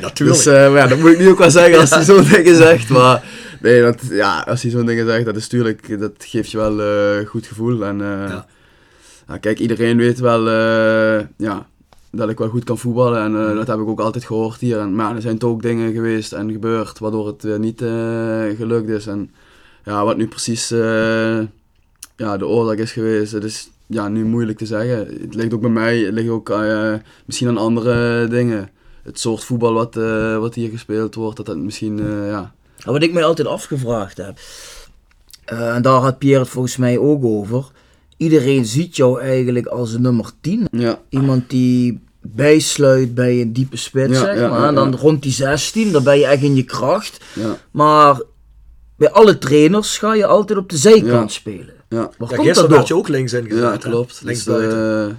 Natuurlijk.
Dus eh, maar ja, dat moet ik nu ook wel zeggen als hij zo'n dingen zegt. Maar nee, dat, ja, als hij zo'n dingen zegt, dat is tuurlijk, dat geeft je wel eh, een goed gevoel. En eh,
Ja.
ja. kijk, iedereen weet wel eh, ja, dat ik wel goed kan voetballen. En eh, dat heb ik ook altijd gehoord hier. En, maar ja, er zijn toch ook dingen geweest en gebeurd waardoor het weer niet eh, gelukt is. En ja, wat nu precies eh, ja, de oorzaak is geweest, het is ja, nu moeilijk te zeggen. Het ligt ook bij mij, het ligt ook eh, misschien aan andere dingen het soort voetbal wat, eh, wat hier gespeeld wordt, dat dat misschien, eh, ja.
Ja, Wat ik mij altijd afgevraagd heb, eh, en daar had Pierre het volgens mij ook over. Iedereen ziet jou eigenlijk als een nummer 10.
Ja,
Iemand die bijsluit bij een diepe spits,
Ja,
zeg
ja,
maar.
ja,
En dan
ja.
rond die 16, dan ben je echt in je kracht.
ja,
Maar bij alle trainers ga je altijd op de zijkant
Ja.
spelen.
ja.
ja,
Waar komt
gisteren
dat
werd je
door?
ook links ingezet.
ja
hè?
klopt.
Links
Dus,
buiten.
eh,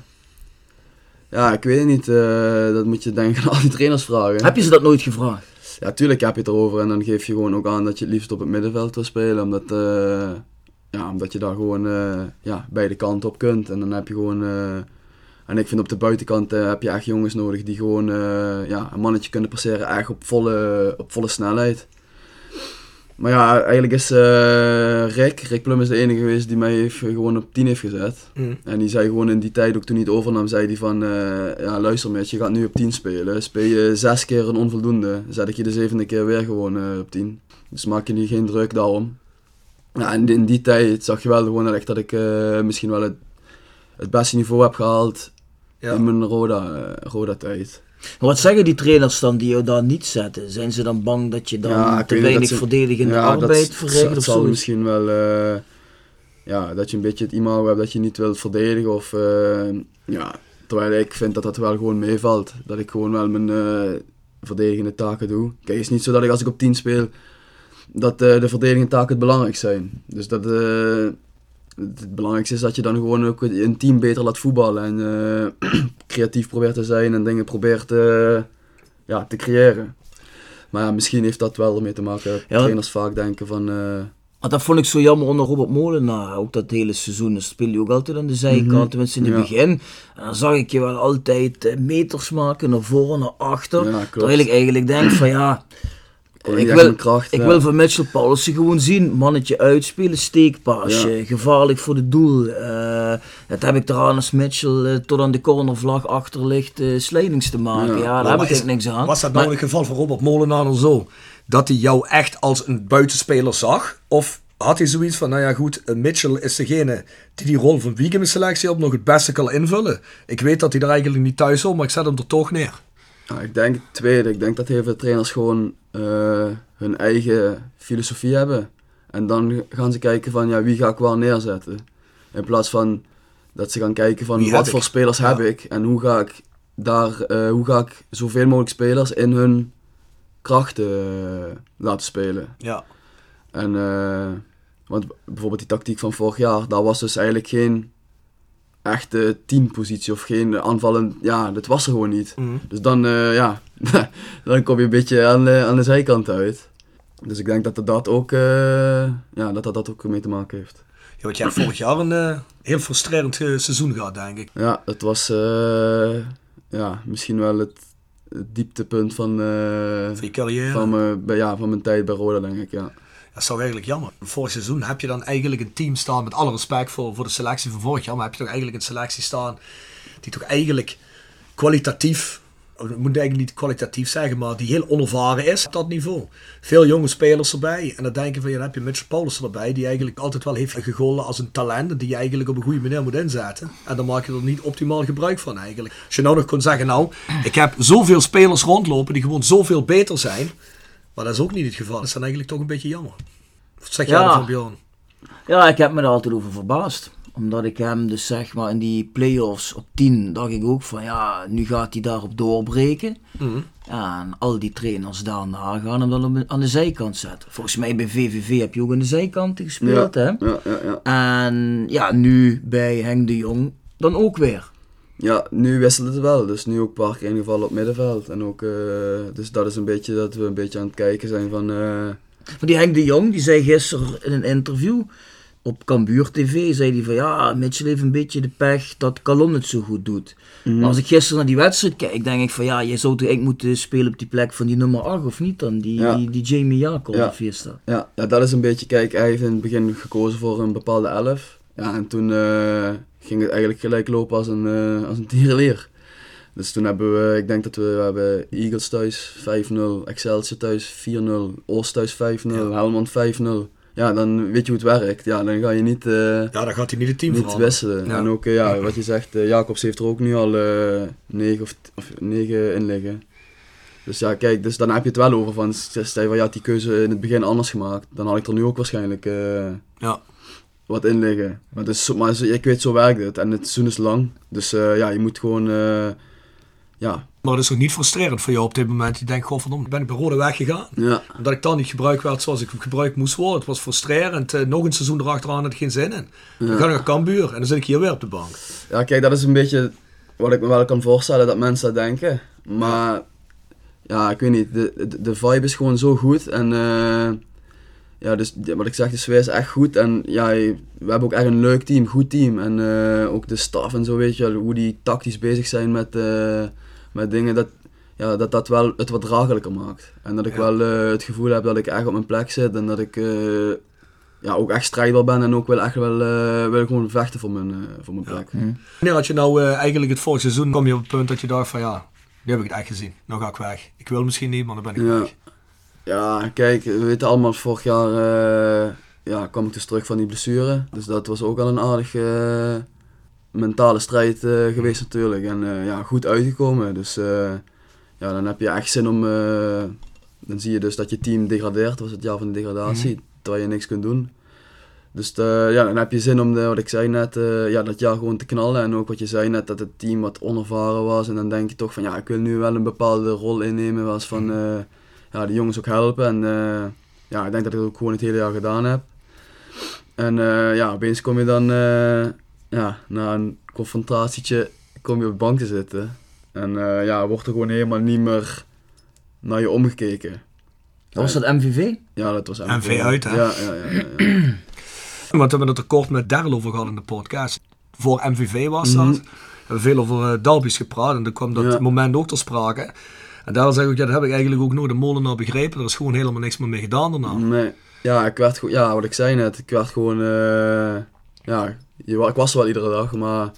ja, ik weet niet, eh, dat moet je denk ik aan al die trainers vragen.
Heb je ze dat nooit gevraagd?
Ja, tuurlijk heb je het erover en dan geef je gewoon ook aan dat je het liefst op het middenveld wil spelen, omdat, eh, ja, omdat je daar gewoon eh, ja, beide kanten op kunt. En dan heb je gewoon, eh, en ik vind op de buitenkant eh, heb je echt jongens nodig die gewoon eh, ja, een mannetje kunnen passeren, echt op volle, op volle snelheid. Maar ja, eigenlijk is eh, Rick, Rick Plum is de enige geweest die mij heeft, gewoon op 10 heeft gezet.
Mm.
En die zei gewoon in die tijd, ook toen hij het overnam, zei hij van... eh, ja, luister met, je gaat nu op 10 spelen. Speel je zes keer een onvoldoende, zet ik je de zevende keer weer gewoon eh, op 10. Dus maak je niet geen druk daarom. Ja, en in die tijd zag je wel gewoon echt dat ik eh, misschien wel het, het beste niveau heb gehaald
Ja.
in mijn Roda, Roda eh, tijd.
Maar wat zeggen die trainers dan die jou daar niet zetten? Zijn ze dan bang dat je dan
Ja, ik
te
weet niet,
weinig
dat ze-
verdedigende
ja, dat
arbeid
s-
verricht
dat
of
zal
zo?
misschien wel, eh, ja, dat je een beetje het imago hebt dat je niet wilt verdedigen of, eh, ja, terwijl ik vind dat dat wel gewoon meevalt. Dat ik gewoon wel mijn eh, verdedigende taken doe. Kijk, het is niet zo dat ik als ik op 10 speel, dat eh, de verdedigende taken het belangrijk zijn. Dus dat, eh, het het belangrijkste is dat je dan gewoon ook een team beter laat voetballen en eh, creatief probeert te zijn en dingen probeert eh, ja, te creëren. Maar ja, misschien heeft dat wel ermee te maken dat
Ja, dat-
trainers vaak denken van... eh,
Want dat vond ik zo jammer onder Robert Molenaar. Ook dat hele seizoen. Dan speel je ook altijd aan de zijkant. Tenminste in het
Mhm. Ja.
begin. En dan zag ik je wel altijd eh, meters maken. Naar voren, naar achter.
ja, klopt.
terwijl ik eigenlijk denk van ja...
Kon niet
Ik
echt
wil,
mijn kracht, eh,
ik
ja.
wil van Mitchell Paulsen gewoon zien. Mannetje uitspelen, steekpaasje. Gevaarlijk voor het doel. Eh, dat heb ik eraan als Mitchell eh, tot aan de cornervlag achter ligt eh, slijdings te maken. Ja,
Ja.
daar heb
is-
ik eigenlijk niks aan.
Was dat
Maar-
nou het geval voor Robert Molenaar dan zo? Dat hij jou echt als een buitenspeler zag? Of had hij zoiets van, nou ja goed, eh, Mitchell is degene die die rol van Wiegem in selectie op nog het beste kan invullen. Ik weet dat hij daar eigenlijk niet thuis hoort, maar ik zet hem er toch neer.
Ja, ik denk het tweede. Ik denk dat heel veel trainers gewoon eh, hun eigen filosofie hebben. En dan gaan ze kijken van ja, wie ga ik wel neerzetten. In plaats van dat ze gaan kijken van
Wie heb
wat
ik?
voor spelers heb ik en hoe ga ik daar, eh, hoe ga ik zoveel mogelijk spelers in hun krachten eh, laten spelen.
Ja.
En, eh, want bijvoorbeeld die tactiek van vorig jaar, daar was dus eigenlijk geen echte teampositie of geen aanvallen. Ja, dat was er gewoon niet.
mhm.
Dus dan, eh, ja, dan kom je een beetje aan, de- aan de zijkant uit. Dus ik denk dat dat, dat ook, eh, ja, dat dat, dat ook mee te maken heeft.
Ja, want jij hebt vorig jaar een eh, heel frustrerend eh, seizoen gehad, denk ik.
Ja, dat was eh, ja, misschien wel het, het dieptepunt van, eh,
Voor je carrière.
van, mijn, bij- ja, van mijn tijd bij Roda, denk ik. Ja.
Dat is toch eigenlijk jammer. Vorig seizoen heb je dan eigenlijk een team staan, met alle respect voor, voor de selectie van vorig jaar, maar heb je toch eigenlijk een selectie staan die toch eigenlijk kwalitatief, ik moet eigenlijk niet kwalitatief zeggen, maar die heel onervaren is op dat niveau. Veel jonge spelers erbij. En dan denken van, ja, dan heb je Mitchell Paulsen erbij, die eigenlijk altijd wel heeft gegolden als een talent en die je eigenlijk op een goede manier moet inzetten. En dan maak je er niet optimaal gebruik van eigenlijk. Als je nou nog kon zeggen, nou, ik heb zoveel spelers rondlopen die gewoon zoveel beter zijn. Maar dat is ook niet het geval. Dat is dan eigenlijk toch een beetje jammer. Wat zeg jij
Ja.
daarvan, Bjorn?
Ja, ik heb me daar altijd over verbaasd. Omdat ik hem dus zeg maar in die play-offs op 10 dacht ik ook van ja, nu gaat hij daarop doorbreken.
Mhm.
Ja, en al die trainers daarna gaan hem dan op de- aan de zijkant zetten. Volgens mij bij VVV heb je ook aan de zijkant gespeeld hè.
ja, ja, ja, ja.
En ja, nu bij Henk de Jong dan ook weer.
Ja, nu wisselt het wel. Dus nu ook een paar keer ingevallen op middenveld. En ook, eh, dus dat is een beetje dat we een beetje aan het kijken zijn van... eh,
Maar die Henk de Jong die zei gisteren in een interview op Cambuur TV, zei hij van ja, Mitchell heeft een beetje de pech dat Calon het zo goed doet.
Mhm.
Maar als ik gisteren naar die wedstrijd kijk, denk ik van ja, je zou toch echt moeten spelen op die plek van die nummer 8 of niet dan? Die,
Ja.
die, die Jamie Jacob
Ja.
of wie is dat?
ja, ja, dat is een beetje... Kijk, hij heeft in het begin gekozen voor een bepaalde elf. Ja, en toen eh, ging het eigenlijk gelijk lopen als een, eh, als een tierenleer. Dus toen hebben we, ik denk dat we, we hebben Eagles thuis 5-0, Excelsior thuis 4-0, Oost thuis 5-0, Helmond 5-0. Ja, dan weet je hoe het werkt. Ja, dan ga je niet... eh,
Ja, dan gaat hij niet het team
Niet
veranderen.
wisselen.
Ja.
En ook eh, ja, wat je zegt, eh, Jacobs heeft er ook nu al eh, negen, of, of negen in liggen. Dus ja, kijk, dus dan heb je het wel over van, stel je van, ja, had die keuze in het begin anders gemaakt, dan had ik er nu ook waarschijnlijk eh,
Ja.
wat in liggen. Maar, dus, maar zo- ik weet, zo werkt het. En het seizoen is lang, dus eh, ja, je moet gewoon, eh, ja,
Maar het is ook niet frustrerend voor jou op dit moment. Je denkt, goh, verdomme, ben ik bij Rode weggegaan?
ja,
Omdat ik dan niet gebruikt werd zoals ik gebruikt moest worden. Het was frustrerend. Eh, nog een seizoen erachteraan had ik geen zin in. Dan ga ik naar Cambuur en dan zit ik hier weer op de bank.
Ja, kijk, dat is een beetje wat ik me wel kan voorstellen dat mensen dat denken. Maar ja, ik weet niet, de, de, de vibe is gewoon zo goed. En eh, ja, dus ja, wat ik zeg, de sfeer is echt goed. En ja, je- we hebben ook echt een leuk team, goed team. En eh, ook de staf en zo, weet je wel, hoe die tactisch bezig zijn met, eh, met dingen. Dat, ja, dat dat wel het wat draaglijker maakt. En dat ik
Ja.
wel eh, het gevoel heb dat ik echt op mijn plek zit. En dat ik eh, ja, ook echt strijdbaar ben. En ook wil echt wel eh, wil gewoon vechten voor mijn, eh, voor mijn plek.
Wanneer had je nou eh, eigenlijk het vorig seizoen, kom je op het punt dat je dacht van ja, nu heb ik het echt gezien. Nou ga ik weg. Ik wil misschien niet, maar dan ben ik
Ja.
weg.
Ja, kijk, we weten allemaal, vorig jaar eh, ja, kwam ik dus terug van die blessure. Dus dat was ook al een aardige eh, mentale strijd eh, geweest natuurlijk. En eh, ja, goed uitgekomen. Dus eh, ja, dan heb je echt zin om. eh, dan zie je dus dat je team degradeert. Dat was het jaar van de degradatie. Terwijl je niks kunt doen. Dus eh, ja, dan heb je zin om, de, wat ik zei net, eh, ja, dat jaar gewoon te knallen. En ook wat je zei net, dat het team wat onervaren was. En dan denk je toch van, ja, ik wil nu wel een bepaalde rol innemen. Was van, eh, ja, de jongens ook helpen. En eh, ja, ik denk dat ik dat ook gewoon het hele jaar gedaan heb. En eh, ja, opeens kom je dan, eh, ja, na een confrontatietje, kom je op de bank te zitten. En eh, ja, wordt er gewoon helemaal niet meer naar je omgekeken.
Was dat MVV?
Ja, dat was
En
veel
vee uit, hè?
Ja, ja, ja. ja, ja.
Want we hebben het er kort met Daryl over gehad in de podcast. Voor MVV was dat.
Mhm.
We hebben veel over eh, derbies gepraat en toen kwam dat
Ja.
moment ook ter sprake. En daar zeg ik, ook, ja, dat heb ik eigenlijk ook nooit de molen naar begrepen. Er is gewoon helemaal niks meer mee gedaan daarna.
Nee. Ja, ik werd gewoon, ja, wat ik zei net, ik werd gewoon, eh, ja, je, wa- ik was er wel iedere dag, maar... ik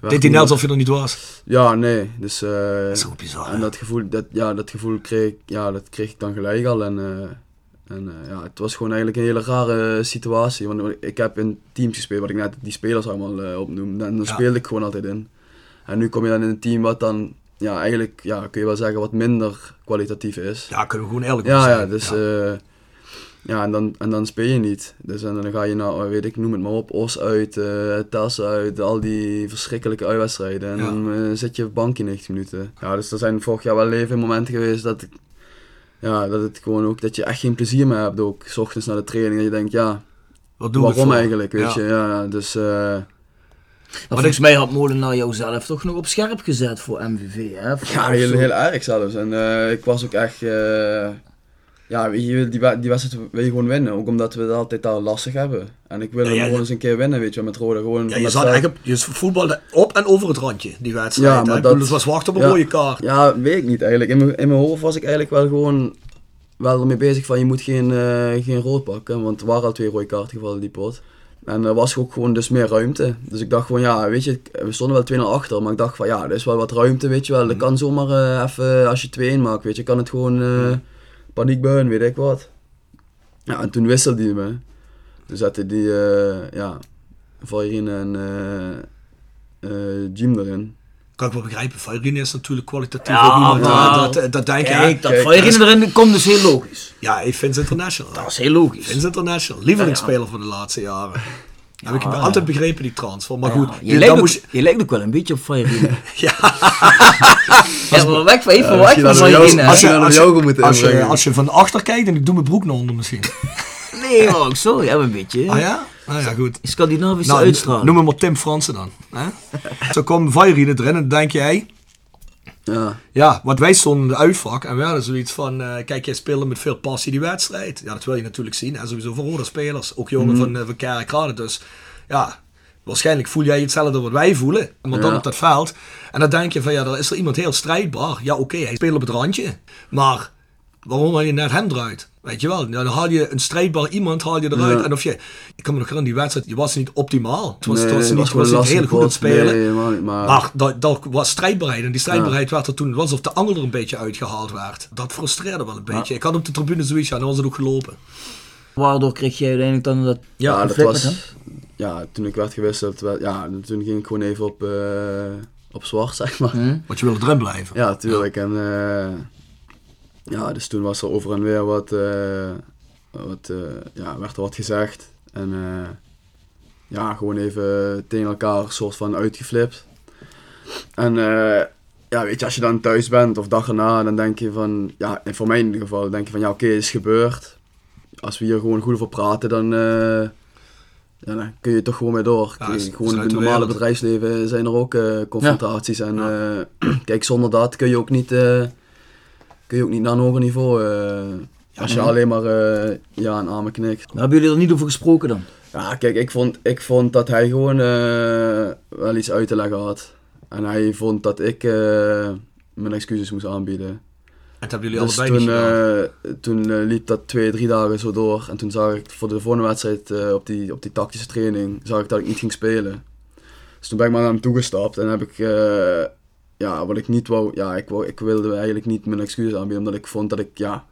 werd
Deed hij net
gewoon-
alsof je er niet was.
Ja, nee, dus... eh,
Zo bizar.
en
hè?
dat gevoel, dat, ja, dat gevoel kreeg, ik- ja, dat kreeg ik dan gelijk al. En, eh, en eh, ja, het was gewoon eigenlijk een hele rare situatie. Want ik heb in teams gespeeld, wat ik net die spelers allemaal eh, opnoemde. En dan
Ja.
speelde ik gewoon altijd in. En nu kom je dan in een team wat dan, ja, eigenlijk, ja, kun je wel zeggen, wat minder kwalitatief is.
Ja, kunnen we gewoon eerlijk over
Ja,
zijn.
ja, dus... Ja, ja en, dan, en dan speel je niet. Dus en dan ga je nou, eh, weet ik, noem het maar op, Os uit, eh Tas uit, al die verschrikkelijke uitwedstrijden. En
Ja.
dan eh, zit je op bankje 90 minuten. Ja, dus er zijn vorig jaar wel leven momenten geweest dat, ik- ja, dat het gewoon ook, dat je echt geen plezier meer hebt ook. S ochtends naar de training, dat je denkt, ja,
Wat doen we
waarom
voor?
eigenlijk, weet
Ja.
je. Ja, dus... eh,
Maar volgens mij had Molenaar jou zelf toch nog op scherp gezet voor MVV, hè? Voor-
Ja,
of
heel,
zo.
heel erg zelfs. En eh, ik was ook echt. eh, ja, weet je, die, we- die wedstrijd wil je gewoon winnen. Ook omdat we het altijd al lastig hebben. En ik wil
Ja,
hem
ja,
gewoon
ja.
eens een keer winnen, weet je, wel, met Roda. Gewoon
Ja, je
omdat
zat
wij-
eigenlijk op, je voetbalde op en over het randje, die wedstrijd.
Ja,
hè?
maar
Ik bedoel,
dat-
Dus was wachten op een
ja.
rode kaart.
Ja, weet ik niet eigenlijk. In mijn, in mijn hoofd was ik eigenlijk wel gewoon wel ermee bezig van je moet geen, eh, geen rood pakken. Want er waren al twee rode kaarten gevallen die pot. En er was ook gewoon dus meer ruimte. Dus ik dacht gewoon, ja, weet je, we stonden wel 2-0 achter. Maar ik dacht van, ja, er is wel wat ruimte, weet je wel. Dat kan zomaar eh, even, als je 2-1 maakt, weet je, kan het gewoon eh paniek buien, weet ik wat. Ja, en toen wisselde hij me. Toen zette die, eh, ja, Valjerine en eh, eh, Jim erin.
Kan ik wel begrijpen. Feyenoord is natuurlijk kwalitatief
Ja,
ook iemand.
maar-
hè? dat, dat denk je.
Kijk, dat
Kijk,
van erin komt dus heel logisch.
Ja, ik vind het international.
Dat is heel logisch.
Vince International, lievelingsspeler van de laatste jaren. Heb ik altijd begrepen, die transfer. Maar goed,
Ja,
die-
je, lijkt
dan
ook,
moest je-
je lijkt ook wel een beetje op Feyerine.
Ja,
ja, maar weg van even
misschien
van
hadden we jou-
Feyerine.
als
hè?
je- dan
als,
had jou ook moeten
als, je,
inbrengen.
als je van achter kijkt, en ik doe mijn broek naar onder misschien.
Nee, maar ook zo. Ja, maar een beetje.
Ah ja? Nou ja, goed.
Scandinavische
Nou,
uitstraling.
noem hem maar Tim Fransen dan. Hè? Zo kwam Vairine erin en dan denk je, hé,
Ja.
ja, want wij stonden in de uitvak en we hadden zoiets van, eh, kijk, jij speelde met veel passie die wedstrijd. Ja, dat wil je natuurlijk zien. En sowieso voor rode spelers, ook jongen
Mhm.
van, eh, van Kerkrade. Dus ja, waarschijnlijk voel jij hetzelfde wat wij voelen. Maar dan
Ja.
op dat veld. En dan denk je van, ja, dan is er iemand heel strijdbaar. Ja, oké, hij speelt op het randje. Maar waarom haal je net hem eruit? Weet je wel, Nou, dan haal je een strijdbaar iemand haal je eruit.
Ja.
En of je, ik kan me nog herinneren, die wedstrijd, je was niet optimaal. Het was,
Nee,
het was niet,
het was
je was
gewoon
niet
lastig
heel goed aan het
pot. Nee,
spelen.
helemaal niet, maar-
maar dat, dat was strijdbaarheid. En die strijdbaarheid werd er toen, het was of de angel er een beetje uitgehaald werd. Dat frustreerde wel een beetje. Ik had op de tribune zoiets, ja, dan was het ook gelopen.
Waardoor kreeg jij uiteindelijk dan dat...
Ja, dat
conflict met hem?
was. Ja, toen ik werd gewisseld, wel- ja, toen ging ik gewoon even op, eh, op zwart, zeg maar.
Want je wilde erin blijven.
Ja, tuurlijk. En eh, ja, dus toen was er over en weer wat, eh, wat eh, ja, werd er wat gezegd. En eh, ja, gewoon even tegen elkaar soort van uitgeflipt. En eh, ja, weet je, als je dan thuis bent of dag erna, dan denk je van, ja, en voor mij in ieder geval, dan denk je van, ja, oké, is gebeurd. Als we hier gewoon goed over praten, dan, eh, ja, dan kun je toch gewoon mee door.
Ja,
Kun je
is- is
gewoon in
uit
het
de
normale
wereld.
bedrijfsleven zijn er ook eh, confrontaties. En eh, kijk, zonder dat kun je ook niet, eh, kun je ook niet naar een hoger niveau. eh, als je alleen maar eh, ja, een arme knikt.
Daar hebben jullie er niet over gesproken dan?
Ja, kijk, ik vond, ik vond dat hij gewoon eh, wel iets uit te leggen had. En hij vond dat ik eh, mijn excuses moest aanbieden.
En dat hebben jullie
Dus
allebei niet
toen,
gedaan.
eh, toen eh, liep dat twee, drie dagen zo door. En toen zag ik voor de volgende wedstrijd eh, op, die, op die tactische training zag ik dat ik niet ging spelen. Dus toen ben ik maar naar hem toegestapt en heb ik, eh, ja, wat ik niet wou, ja, ik, wou, ik wilde eigenlijk niet mijn excuses aanbieden. Omdat ik vond dat ik, ja,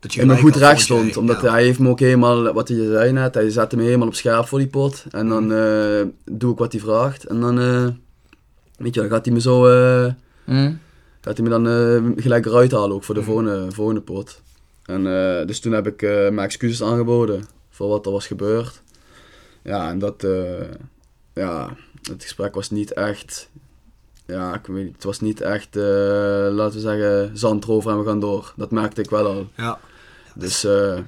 dat je
in mijn
gelijk
goed
had,
recht
vond jij.
stond. Omdat
Ja.
hij heeft me ook helemaal, wat hij zei net, hij zette me helemaal op scherp voor die pot. En
Mm.
dan eh, doe ik wat hij vraagt. En dan, eh, weet je, dan gaat hij me zo, eh, Laat hij me dan eh, gelijk eruit halen ook voor
Mm.
de volgende, volgende pot. En, eh, dus toen heb ik eh, mijn excuses aangeboden voor wat er was gebeurd. Ja, en dat, eh, ja, het gesprek was niet echt, ja, ik weet niet, het was niet echt, eh, laten we zeggen, zand erover en we gaan door. Dat merkte ik wel al.
Ja.
Dus, eh,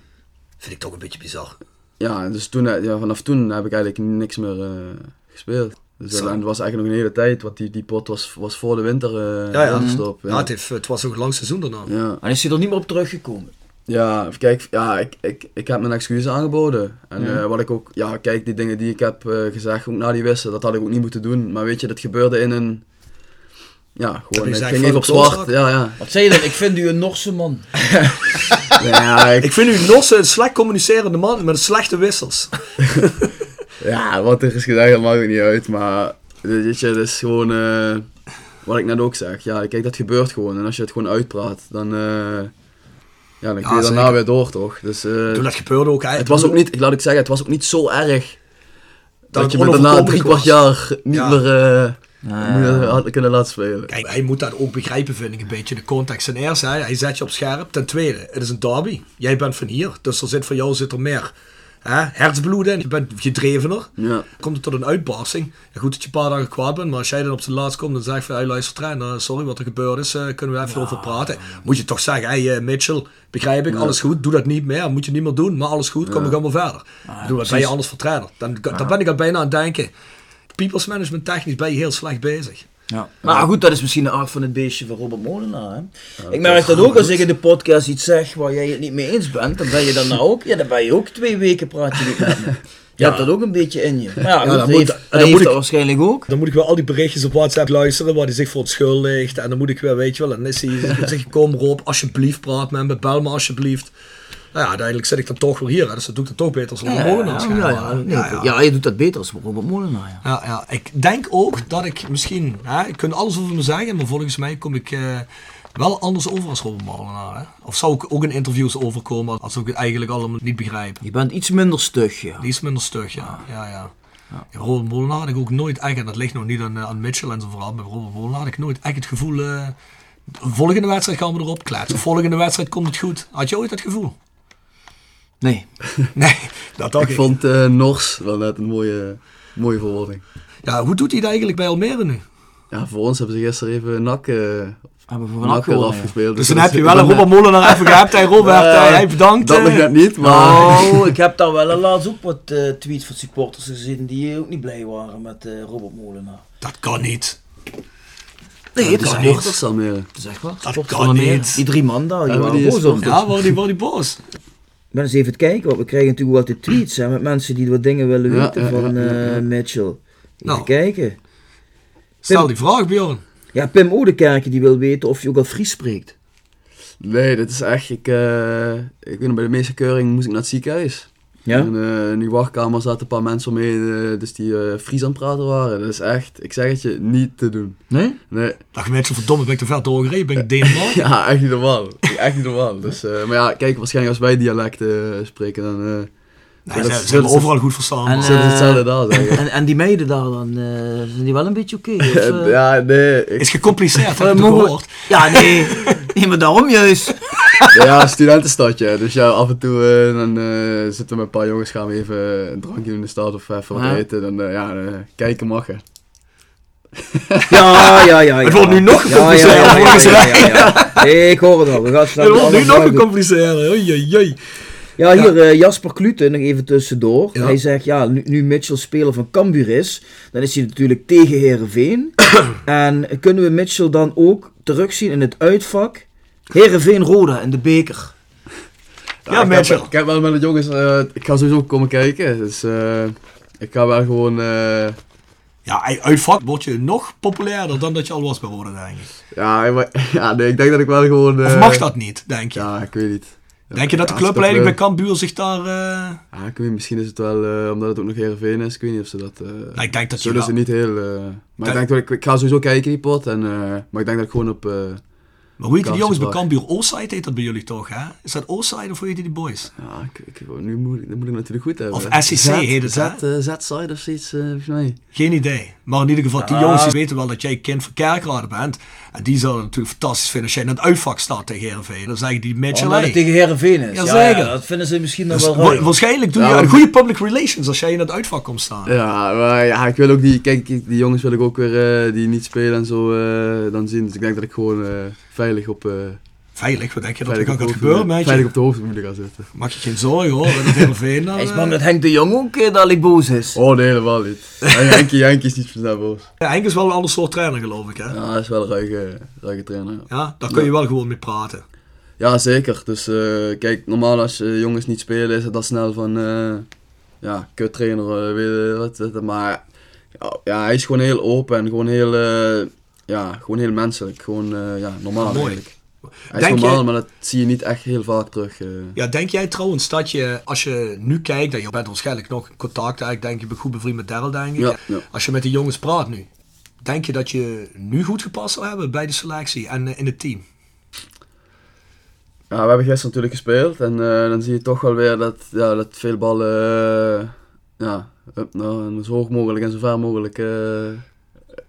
Vind ik toch een beetje bizar.
ja, dus toen, eh, ja, vanaf toen heb ik eigenlijk niks meer eh, gespeeld. Dus,
Zo.
en het was eigenlijk nog een hele tijd, want die, die pot was, was voor de winter eh
Ja, ja.
stop.
Ja, het, heeft, het was ook een lang seizoen daarna.
ja.
En is hij er niet meer op teruggekomen?
Ja, kijk, ja, ik, ik, ik heb mijn excuses aangeboden. En
Mhm.
Ja.
eh, wat ik ook, ja, kijk, die dingen die ik heb eh, gezegd, ook na die wissen, dat had ik ook niet moeten doen. Maar weet je, dat gebeurde in een. Ja,
je
gewoon. Ik
gezegd, van
ging even op
de klootzak?
zwart. Ja, ja.
Wat zei je dan? Ik vind u een Norse man.
ja, ik-
Ik vind u Norse een slecht communicerende man met slechte wissels.
ja, wat er is gezegd, dat maakt ook niet uit. Maar weet je, dat is gewoon. eh, wat ik net ook zeg. Ja, kijk, dat gebeurt gewoon. En als je het gewoon uitpraat, dan. eh, ja, dan kun je daarna
zeker.
weer door, toch? Dus, eh,
Toen dat gebeurde ook, hè,
Het was ook niet, ik laat ik zeggen, het was ook niet zo erg. Dat,
het
je me daarna
onoverkomelijk
drie kwart
was.
jaar niet
Ja.
meer eh,
Ja.
meer had kunnen laten spelen.
Kijk, hij moet dat ook begrijpen, vind ik, een beetje. De context. Ten eerste, hè, hij zet je op scherp. Ten tweede, het is een derby. Jij bent van hier, dus er zit voor jou zit er meer hè, hertsbloed in. Je bent gedrevener.
Ja.
Komt het tot een uitbarsting. Ja, goed dat je een paar dagen kwaad bent, maar als jij dan op zijn laatst komt en zegt van, hey, luister trein, eh, sorry wat er gebeurd is, eh, kunnen we even over praten. Moet je toch zeggen, hey eh, Mitchell, begrijp ik, alles goed, doe dat niet meer, moet je niet meer doen, maar alles goed, kom ik allemaal verder. ik bedoel, dat ben je anders voor trainer. Dan, dan ben ik al bijna aan het denken, people's management technisch ben je heel slecht bezig.
Ja. Maar goed, dat is misschien de aard van het beestje van Robert Molenaar. Hè? ik merk dat ook als ik in de podcast iets zeg waar jij het niet mee eens bent, dan ben je dan nou ook, ja, dan ben je ook twee weken praat je niet met me. Je hebt dat ook een beetje in je. Maar ja, goed,
dat
hij
moet-
heeft,
en
hij
dat
heeft
moet
dat
ik-
waarschijnlijk ook.
Dan moet ik wel al die berichtjes op WhatsApp luisteren waar hij zich voor het schuld ligt. En dan moet ik weer, weet je wel, en dan is hij, zeg ik, kom Rob, alsjeblieft praat met me, bel me alsjeblieft. Nou ja, uiteindelijk zit ik dan toch weer hier, hè, dus dat doe ik dan toch beter als Rob Molenaar.
ja, ja,
schijnbaar.
ja, nee, ja, je doet dat beter als Robert Molenaar. Ja.
Ja, ja, ik denk ook dat ik misschien, hè, ik kan alles over me zeggen, maar volgens mij kom ik eh, wel anders over als Robert Molenaar. Hè? Of zou ik ook in interviews overkomen als ik het eigenlijk allemaal niet begrijp.
Je bent iets minder stug, ja.
Die is minder stug, ja. ja, ja. Ah. Ja, Robert Molenaar had ik ook nooit echt, en dat ligt nog niet aan, eh, aan Mitchell en zijn verhaal, maar Robert Molenaar had ik nooit echt het gevoel, eh, volgende wedstrijd gaan we erop kletsen, volgende wedstrijd komt het goed. Had je ooit dat gevoel?
Nee.
Nee, dat dacht
Ik
ik.
vond eh Nors wel net een mooie, mooie verwoording.
Ja, hoe doet hij dat eigenlijk bij Almere nu?
Ja, voor ons hebben ze gisteren even nak, eh
Hebben we voor een
nak
akkoord, ja. Oh,
afgespeeld.
Dus dan heb je wel
dan,
een
eh,
Robert Molenaar even gehad en Robert,
eh,
eh, hij bedankt.
Dat
eh.
nog net niet, maar...
Nou, ik heb daar wel laatst ook wat eh, tweets van supporters gezien die ook niet blij waren met eh, Robert Molenaar. dus
Dat kan niet.
Nee,
Het
het
is
kan niet.
Nors dat dan meer.
Dat is echt waar.
Dat
Klopt,
kan
van Almere.
niet.
Die drie man daar, die
Ja, maar
waren
die is
boos op.
Ja, worden die, worden die boos?
Ik ben eens even te kijken, want we krijgen natuurlijk wel de tweets hè, met mensen die wat dingen willen
Ja,
weten
ja, ja,
van
ja, ja.
eh, Mitchell. Even
Nou.
kijken.
Stel die vraag, Bjorn.
Ja, Pim Odekerke die wil weten of je ook al Fries spreekt.
Nee, dat is echt... Ik, eh, ik weet nog, bij de meeste keuring moest ik naar het ziekenhuis. En,
Ja?
eh, in die wachtkamer zaten een paar mensen om me heen, eh, dus die eh Fries aan het praten waren. Dat is echt, ik zeg het je, niet te doen.
Nee?
Nee,
Dag mensen, verdomme, ben ik te ver doorgereden? Ben ik Denemarken?
ja, echt niet normaal. Echt niet normaal. Dus, eh, maar ja, kijk, waarschijnlijk als wij dialecten eh, spreken, dan eh,
Nee, ze,
dat is-
ze hebben
dat is-
overal goed verstaan. man.
En, eh,
zullen ze hetzelfde daar zeggen.
En, en die meiden daar dan, eh, zijn die wel een beetje oké? of, eh?
ja, nee. ik-
is gecompliceerd, heb je
eh,
toch
mogen we-
gehoord?
Ja, nee. Nee, maar daarom juist.
ja, studentenstadje. Dus ja, af en toe eh, dan, eh, zitten we met een paar jongens, gaan we even een drankje in de stad of even wat
Ja.
eten. Dan eh, ja, eh, kijken mag hè.
Ja, ja, ja.
Het wordt nu nog gecompliceerder, volgens mij.
Nee, ik hoor het al. We gaan snel
Het wordt nu
andere
nog
vraag doen.
gecompliceerder. Oei, oei, oei.
Ja, hier eh, Jasper Klute, nog even tussendoor.
Ja.
Hij zegt, ja, nu, nu Mitchell speler van Cambuur is, dan is hij natuurlijk tegen Herenveen. en kunnen we Mitchell dan ook terugzien in het uitvak? Herenveen Roda in de beker.
Ja,
ik
Mitchell.
heb, ik heb wel met de jongens, eh, ik ga sowieso komen kijken. Dus eh, ik ga wel gewoon... eh,
Ja, ey, uitvak word je nog populairder dan dat je al was bij Roda, denk ik.
Ja, maar- ja, nee, ik denk dat ik wel gewoon...
Of
eh,
mag dat niet, denk je?
Ja, ik weet niet.
Denk je dat de
Ja, als
clubleiding bij
dat,
Cambuur zich daar... eh,
eh, Ja, ik weet niet, misschien is het wel, eh, omdat het ook nog Heerenveen is, ik weet niet of ze dat... eh
Nou, ik denk dat je
zullen
wel...
ze niet heel... eh, maar ik
Dat-
denk dat ik, ik ga sowieso kijken die pot, en, eh, maar ik denk dat ik gewoon op... eh,
Maar hoe heet die
Kans
jongens bij
wel.
Cambuur? Oostside heet dat bij jullie toch, hè? Is dat Oostside of hoe heet die boys?
ja, ik, ik- nu moet, ik- dat moet ik natuurlijk goed hebben.
Of SEC heet het,
Z,
hè?
eh, Z-side of zoiets, eh volgens mij.
Geen idee. Maar in ieder geval, die jongens die weten wel dat jij kind van Kerkrade bent. En die zouden het natuurlijk fantastisch vinden als jij in het uitvak staat tegen Heerenveen. Dan zeggen die Mitchell,
Omdat
hey,
het Oh, nou, tegen Herenveen is. Ja,
Jazeker.
ja, dat vinden ze misschien nog
dus
wel
wa-
raar.
waarschijnlijk doe je
Ja,
een
want-
goede public relations als jij in het uitvak komt staan.
Ja, maar ja, ik wil ook die, kijk, ik- die jongens wil ik ook weer eh, die niet spelen en zo eh, dan zien. Dus ik denk dat ik gewoon eh, veilig op eh,
Veilig, wat denk je dat er
veilig op
gaat
de
gebeuren,
hoofdtribune-
meidje?
veilig op de hoofdtribune ga zitten.
Maak je geen zorgen hoor, dat is Heerenveen dan...
Hij is
eh,
bang dat Henk de Jong ook eh, dadelijk boos is.
Oh nee, helemaal niet. Henkie, Henkie is niet zo snel boos.
Ja, Henk is wel een ander soort trainer geloof ik hè. Ja,
Ja, hij is wel een ruige, ruige trainer. ja.
daar kun je
Ja.
wel gewoon mee praten.
Ja, zeker. Dus eh, kijk, normaal als eh, jongens niet spelen is het dan snel van, eh, ja, kut trainer, eh, weet je wat, dit, dat. maar ja, ja, hij is gewoon heel open en gewoon heel, eh, ja, gewoon heel menselijk. Gewoon, eh, ja, normaal
Mooi.
eigenlijk. Hij
Denk
is normaal,
jij-
maar dat zie je niet echt heel vaak terug. eh.
Ja, denk jij trouwens dat je, als je nu kijkt, en je bent waarschijnlijk nog in contact, eigenlijk denk je bent goed bevriend met Daryl denk ik.
Ja, ja.
Als je met die jongens praat nu, denk je dat je nu goed gepast zou hebben bij de selectie en eh, in het team?
Ja, we hebben gisteren natuurlijk gespeeld en eh, dan zie je toch wel weer dat, ja, dat veel ballen eh, ja, up, nou, zo hoog mogelijk en zo ver mogelijk eh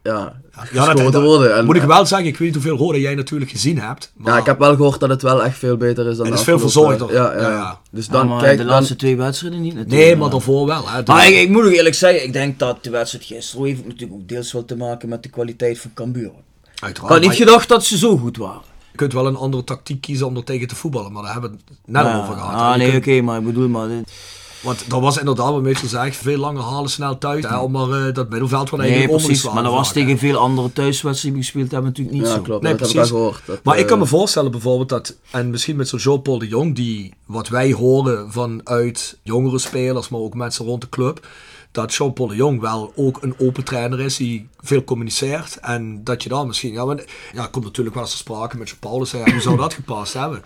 ja,
Ja, dat-
gescoord
dat-
worden. En-
Moet ik wel zeggen, ik weet niet hoeveel horen jij natuurlijk gezien hebt. Maar
Ja, ik heb wel gehoord dat het wel echt veel beter is dan
Het
de
is veel
afgelopen
verzorgder.
tijd. Ja, ja,
Ja,
ja.
ja.
Dus
Ja,
dan
maar
kijk
de
dan...
laatste twee wedstrijden niet natuurlijk.
Nee, maar
Ja.
daarvoor wel. Hè. Dus-
Maar ik, ik moet ook eerlijk zeggen, ik denk dat de wedstrijd gisteren heeft natuurlijk ook deels wel te maken met de kwaliteit van Cambuur. Ik
uiteraard,
had niet
maar je,
gedacht dat ze zo goed waren.
kunt wel een andere tactiek kiezen om er tegen te voetballen, maar daar hebben we het net al
Ja.
over gehad. hè.
Ah,
Je
nee, oké,
kunt-
maar ik bedoel, maar dit-
Want dat was inderdaad wat meestal zegt, veel lange halen snel thuis, hè, om maar eh, dat middenveld van
nee,
eigenlijk om te
precies.
slaan
Maar dat was
vaak, hè.
tegen veel andere thuiswedstrijden die we gespeeld hebben natuurlijk niet
Ja,
zo.
klopt.
Nee,
dat heb
precies.
ik wel gehoord. Dat,
Maar ik kan me
eh,
voorstellen bijvoorbeeld dat, en misschien met zo'n Jean-Paul de Jong, die wat wij horen vanuit jongere spelers, maar ook mensen rond de club, dat Jean-Paul de Jong wel ook een open trainer is, die veel communiceert. En dat je daar misschien, ja, want, ja het komt natuurlijk wel eens te sprake met Jean Paulus, hè, hoe zou dat gepast hebben?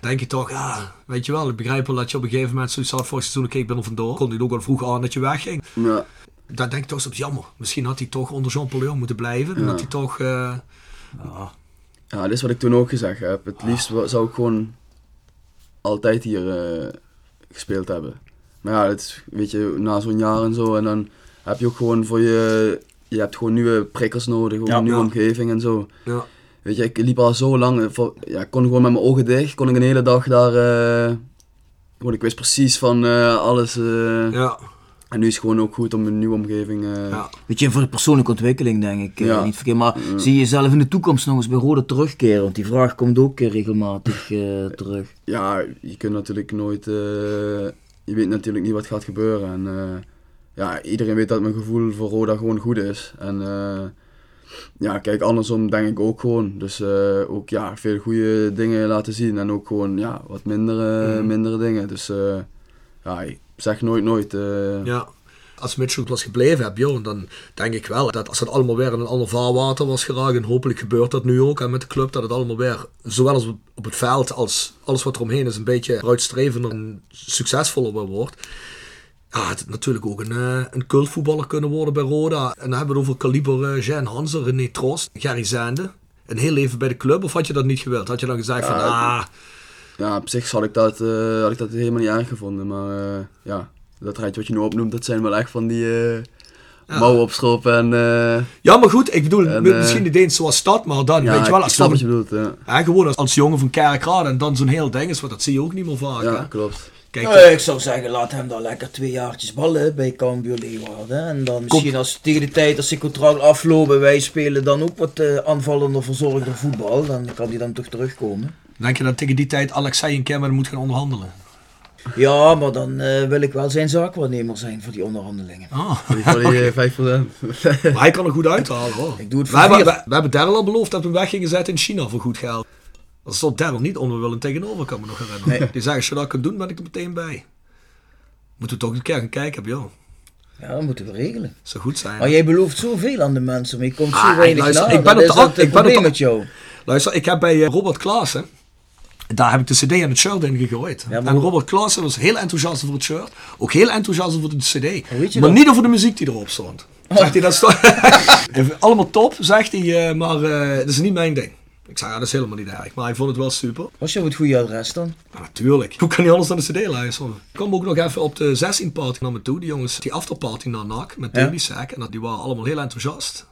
Denk je toch, ja, weet je wel, ik begrijp wel dat je op een gegeven moment zoiets had vorig seizoen, oké, ik ben er vandoor. Kon hij ook al vroeg aan dat je wegging.
ja.
Dan denk ik toch soms, jammer, misschien had hij toch onder Jean-Paul de Jong moeten blijven. En
Ja.
dat hij toch, eh,
ja, dit is wat ik toen ook gezegd heb. Het liefst wa- zou ik gewoon altijd hier eh, gespeeld hebben. Maar ja, het is, weet je, na zo'n jaar en zo. En dan heb je ook gewoon voor je... Je hebt gewoon nieuwe prikkels nodig, ook
Ja,
een nieuwe
ja.
omgeving en zo.
ja,
Weet je, ik liep al zo lang. eh, voor- Ja, ik kon gewoon met mijn ogen dicht. Kon ik een hele dag daar... eh, gewoon, ik wist precies van eh, alles... eh,
ja,
En nu is het gewoon ook goed om een nieuwe omgeving. eh,
ja.
Weet je, voor de persoonlijke ontwikkeling denk ik eh,
Ja.
niet verkeerd. Maar zie je zelf in de toekomst nog eens bij Rode terugkeren? Want die vraag komt ook eh, regelmatig eh, terug.
ja, je kunt natuurlijk nooit. eh, je weet natuurlijk niet wat gaat gebeuren. En eh, ja, iedereen weet dat mijn gevoel voor Roda gewoon goed is. En eh, ja, kijk, andersom denk ik ook gewoon. Dus eh, ook ja, veel goede dingen laten zien. En ook gewoon ja, wat mindere,
Mhm.
mindere dingen. Dus eh, ja, ik zeg nooit nooit. eh,
Ja. Als Mitchell was gebleven, heb, joh, dan denk ik wel dat als het allemaal weer in een ander vaarwater was geraakt, en hopelijk gebeurt dat nu ook en met de club, dat het allemaal weer, zowel als op- op het veld als alles wat eromheen is, een beetje vooruitstrevender en succesvoller weer wordt. Ja, het natuurlijk ook een, eh, een cultvoetballer kunnen worden bij Roda. En dan hebben we het over kaliber eh Jean Hansen, René Trost, Gerry Zende. Een heel leven bij de club, of had je dat niet gewild? Had je dan gezegd van,
Ja,
ah,
Ja, op zich had ik dat, eh, had ik dat helemaal niet erg gevonden. Maar eh, ja, dat rijtje wat je nu opnoemt, dat zijn wel echt van die eh, mouwen opstropen en... eh,
ja, maar goed, ik bedoel,
En,
mi-
eh,
misschien niet eens zoals dat, maar dan,
ja,
weet je wel,
ik- ik
als
snap
dat
wat je bedoelt, ja.
Ja, gewoon als, als jongen van Kerkrade en dan zo'n heel ding is, want dat zie je ook niet meer vaak.
Ja,
hè?
klopt.
Kijk, eh,
Nou, ik zou zeggen, laat hem daar lekker twee jaartjes ballen bij Cambuur Leeuwarden. hè. En dan misschien als tegen de tijd dat zijn contract aflopen, wij spelen dan ook wat eh, aanvallender, verzorgder voetbal. Dan kan hij dan toch terugkomen.
denk je dat tegen die tijd Alexei en Cameron moet gaan onderhandelen?
Ja, maar dan eh, wil ik wel zijn zaakwaarnemer zijn voor die onderhandelingen.
Ah.
Die Voor die eh, 5%.
Maar hij kan er goed uithalen hoor.
Ik doe het
we,
voor
hebben, we,
vier.
we hebben Daryl al beloofd dat we hem weg gingen zetten in China voor goed geld. Dat stond Daryl niet onwillend tegenover, kan me nog herinneren. Die zeggen, als je dat kunt doen, ben ik er meteen bij. Moeten we toch een keer gaan kijken, joh.
Ja, dat moeten we regelen.
Zou goed zijn.
Maar jij belooft zoveel aan de mensen, maar je komt zo
Ah,
weinig
luister,
na.
ik ben
Dat
op de
is
af-
dat het
ik ben op de
probleem
af-
met jou.
Luister, ik heb bij eh, Robert Klaassen, daar heb ik de cd en het shirt in gegooid.
Ja, maar
en
hoe-
Robert Klaassen was heel enthousiast over het shirt, ook heel enthousiast over de cd.
Hoe weet je
maar
dat?
niet over de muziek die erop stond. Zegt hij dat sto- Even, Allemaal top, zegt hij, eh, maar eh dat is niet mijn ding. Ik zei, ja, dat is helemaal niet erg, maar hij vond het wel super.
Was jou het goede adres dan?
Maar natuurlijk, hoe kan hij anders dan de cd luisteren? Ik kwam ook nog even op de 16 party naar me toe, die jongens, die afterparty naar NAC met
Ja.
Baby Sack. En dat- die waren allemaal heel enthousiast.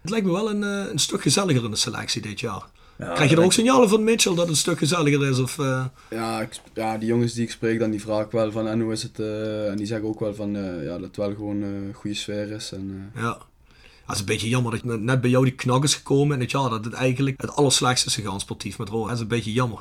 Het lijkt me wel een, eh, een stuk gezelliger in de selectie dit jaar.
Ja,
Krijg je er
dat
ook signalen van Mitchell dat het een stuk gezelliger is? Of, eh,
Ja, ik, sp- ja, die jongens die ik spreek dan, die vragen wel van en hoe is het? eh, en die zeggen ook wel van eh, ja, dat het wel gewoon eh, een goede sfeer is. En, eh,
ja. Het is een beetje jammer dat net- net bij jou die knak is gekomen en het jaar dat het eigenlijk het allerslechtste is gegaan sportief met Roa. Dat is een beetje jammer.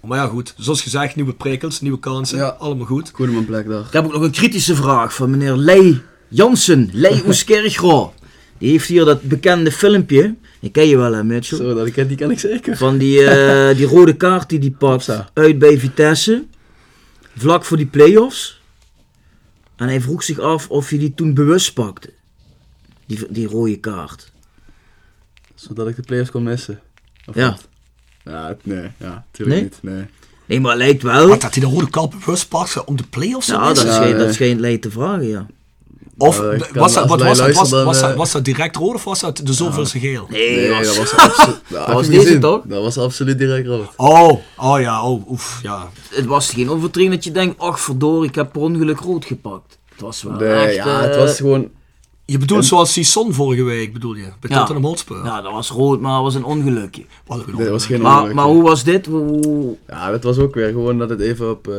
Maar ja goed, zoals gezegd, nieuwe prikkels, nieuwe kansen,
Ja.
allemaal goed.
goed op mijn plek daar.
Ik heb ook nog een kritische vraag van meneer Lei Jansen, Lei Oeskergro. Die heeft hier dat bekende filmpje, die ken je wel hè Mitchell,
Zo, dat ik, die ken ik zeker.
van die, eh, die rode kaart die die pakt
Ja.
uit bij Vitesse, vlak voor die play-offs. En hij vroeg zich af of hij die toen bewust pakte, die, die rode kaart.
Zodat ik de players kon missen. Of
Ja.
wat? Ja, nee, ja, tuurlijk
Nee?
niet. Nee.
Nee, maar lijkt wel.
Maar dat hij de rode kap bewust pakt om de play-offs te
Ja, Nou, dat
missen?
Ja,
schijnt,
eh.
dat schijnt Lei te vragen, ja.
Of
Ja, Eh, ik
was
kan
dat- wat
als
was
wij
dat- was-
luisteren,
was
dan,
dat-
eh,
was dat direct rood of was dat de zoveelste geel?
Nee,
Nee,
was-
dat was absoluut. dat
was
heb je
deze
gezien.
toch?
Dat was absoluut direct rood.
Oh, oh ja, oh, oef, ja.
het was geen overtreding dat je denkt, ach verdorie, ik heb per ongeluk rood gepakt. Het was wel
Nee,
echt...
ja, het
eh,
was gewoon.
Je bedoelt zoals die Son vorige week, bedoel je? Bij
Ja.
Tottenham Hotspur.
Ja, dat was rood, maar dat was een ongelukje.
Wat een
Dit was geen
Maar,
ongeluk,
maar
nee.
hoe was dit? Hoe...
Ja, dat was ook weer gewoon dat het even op. eh,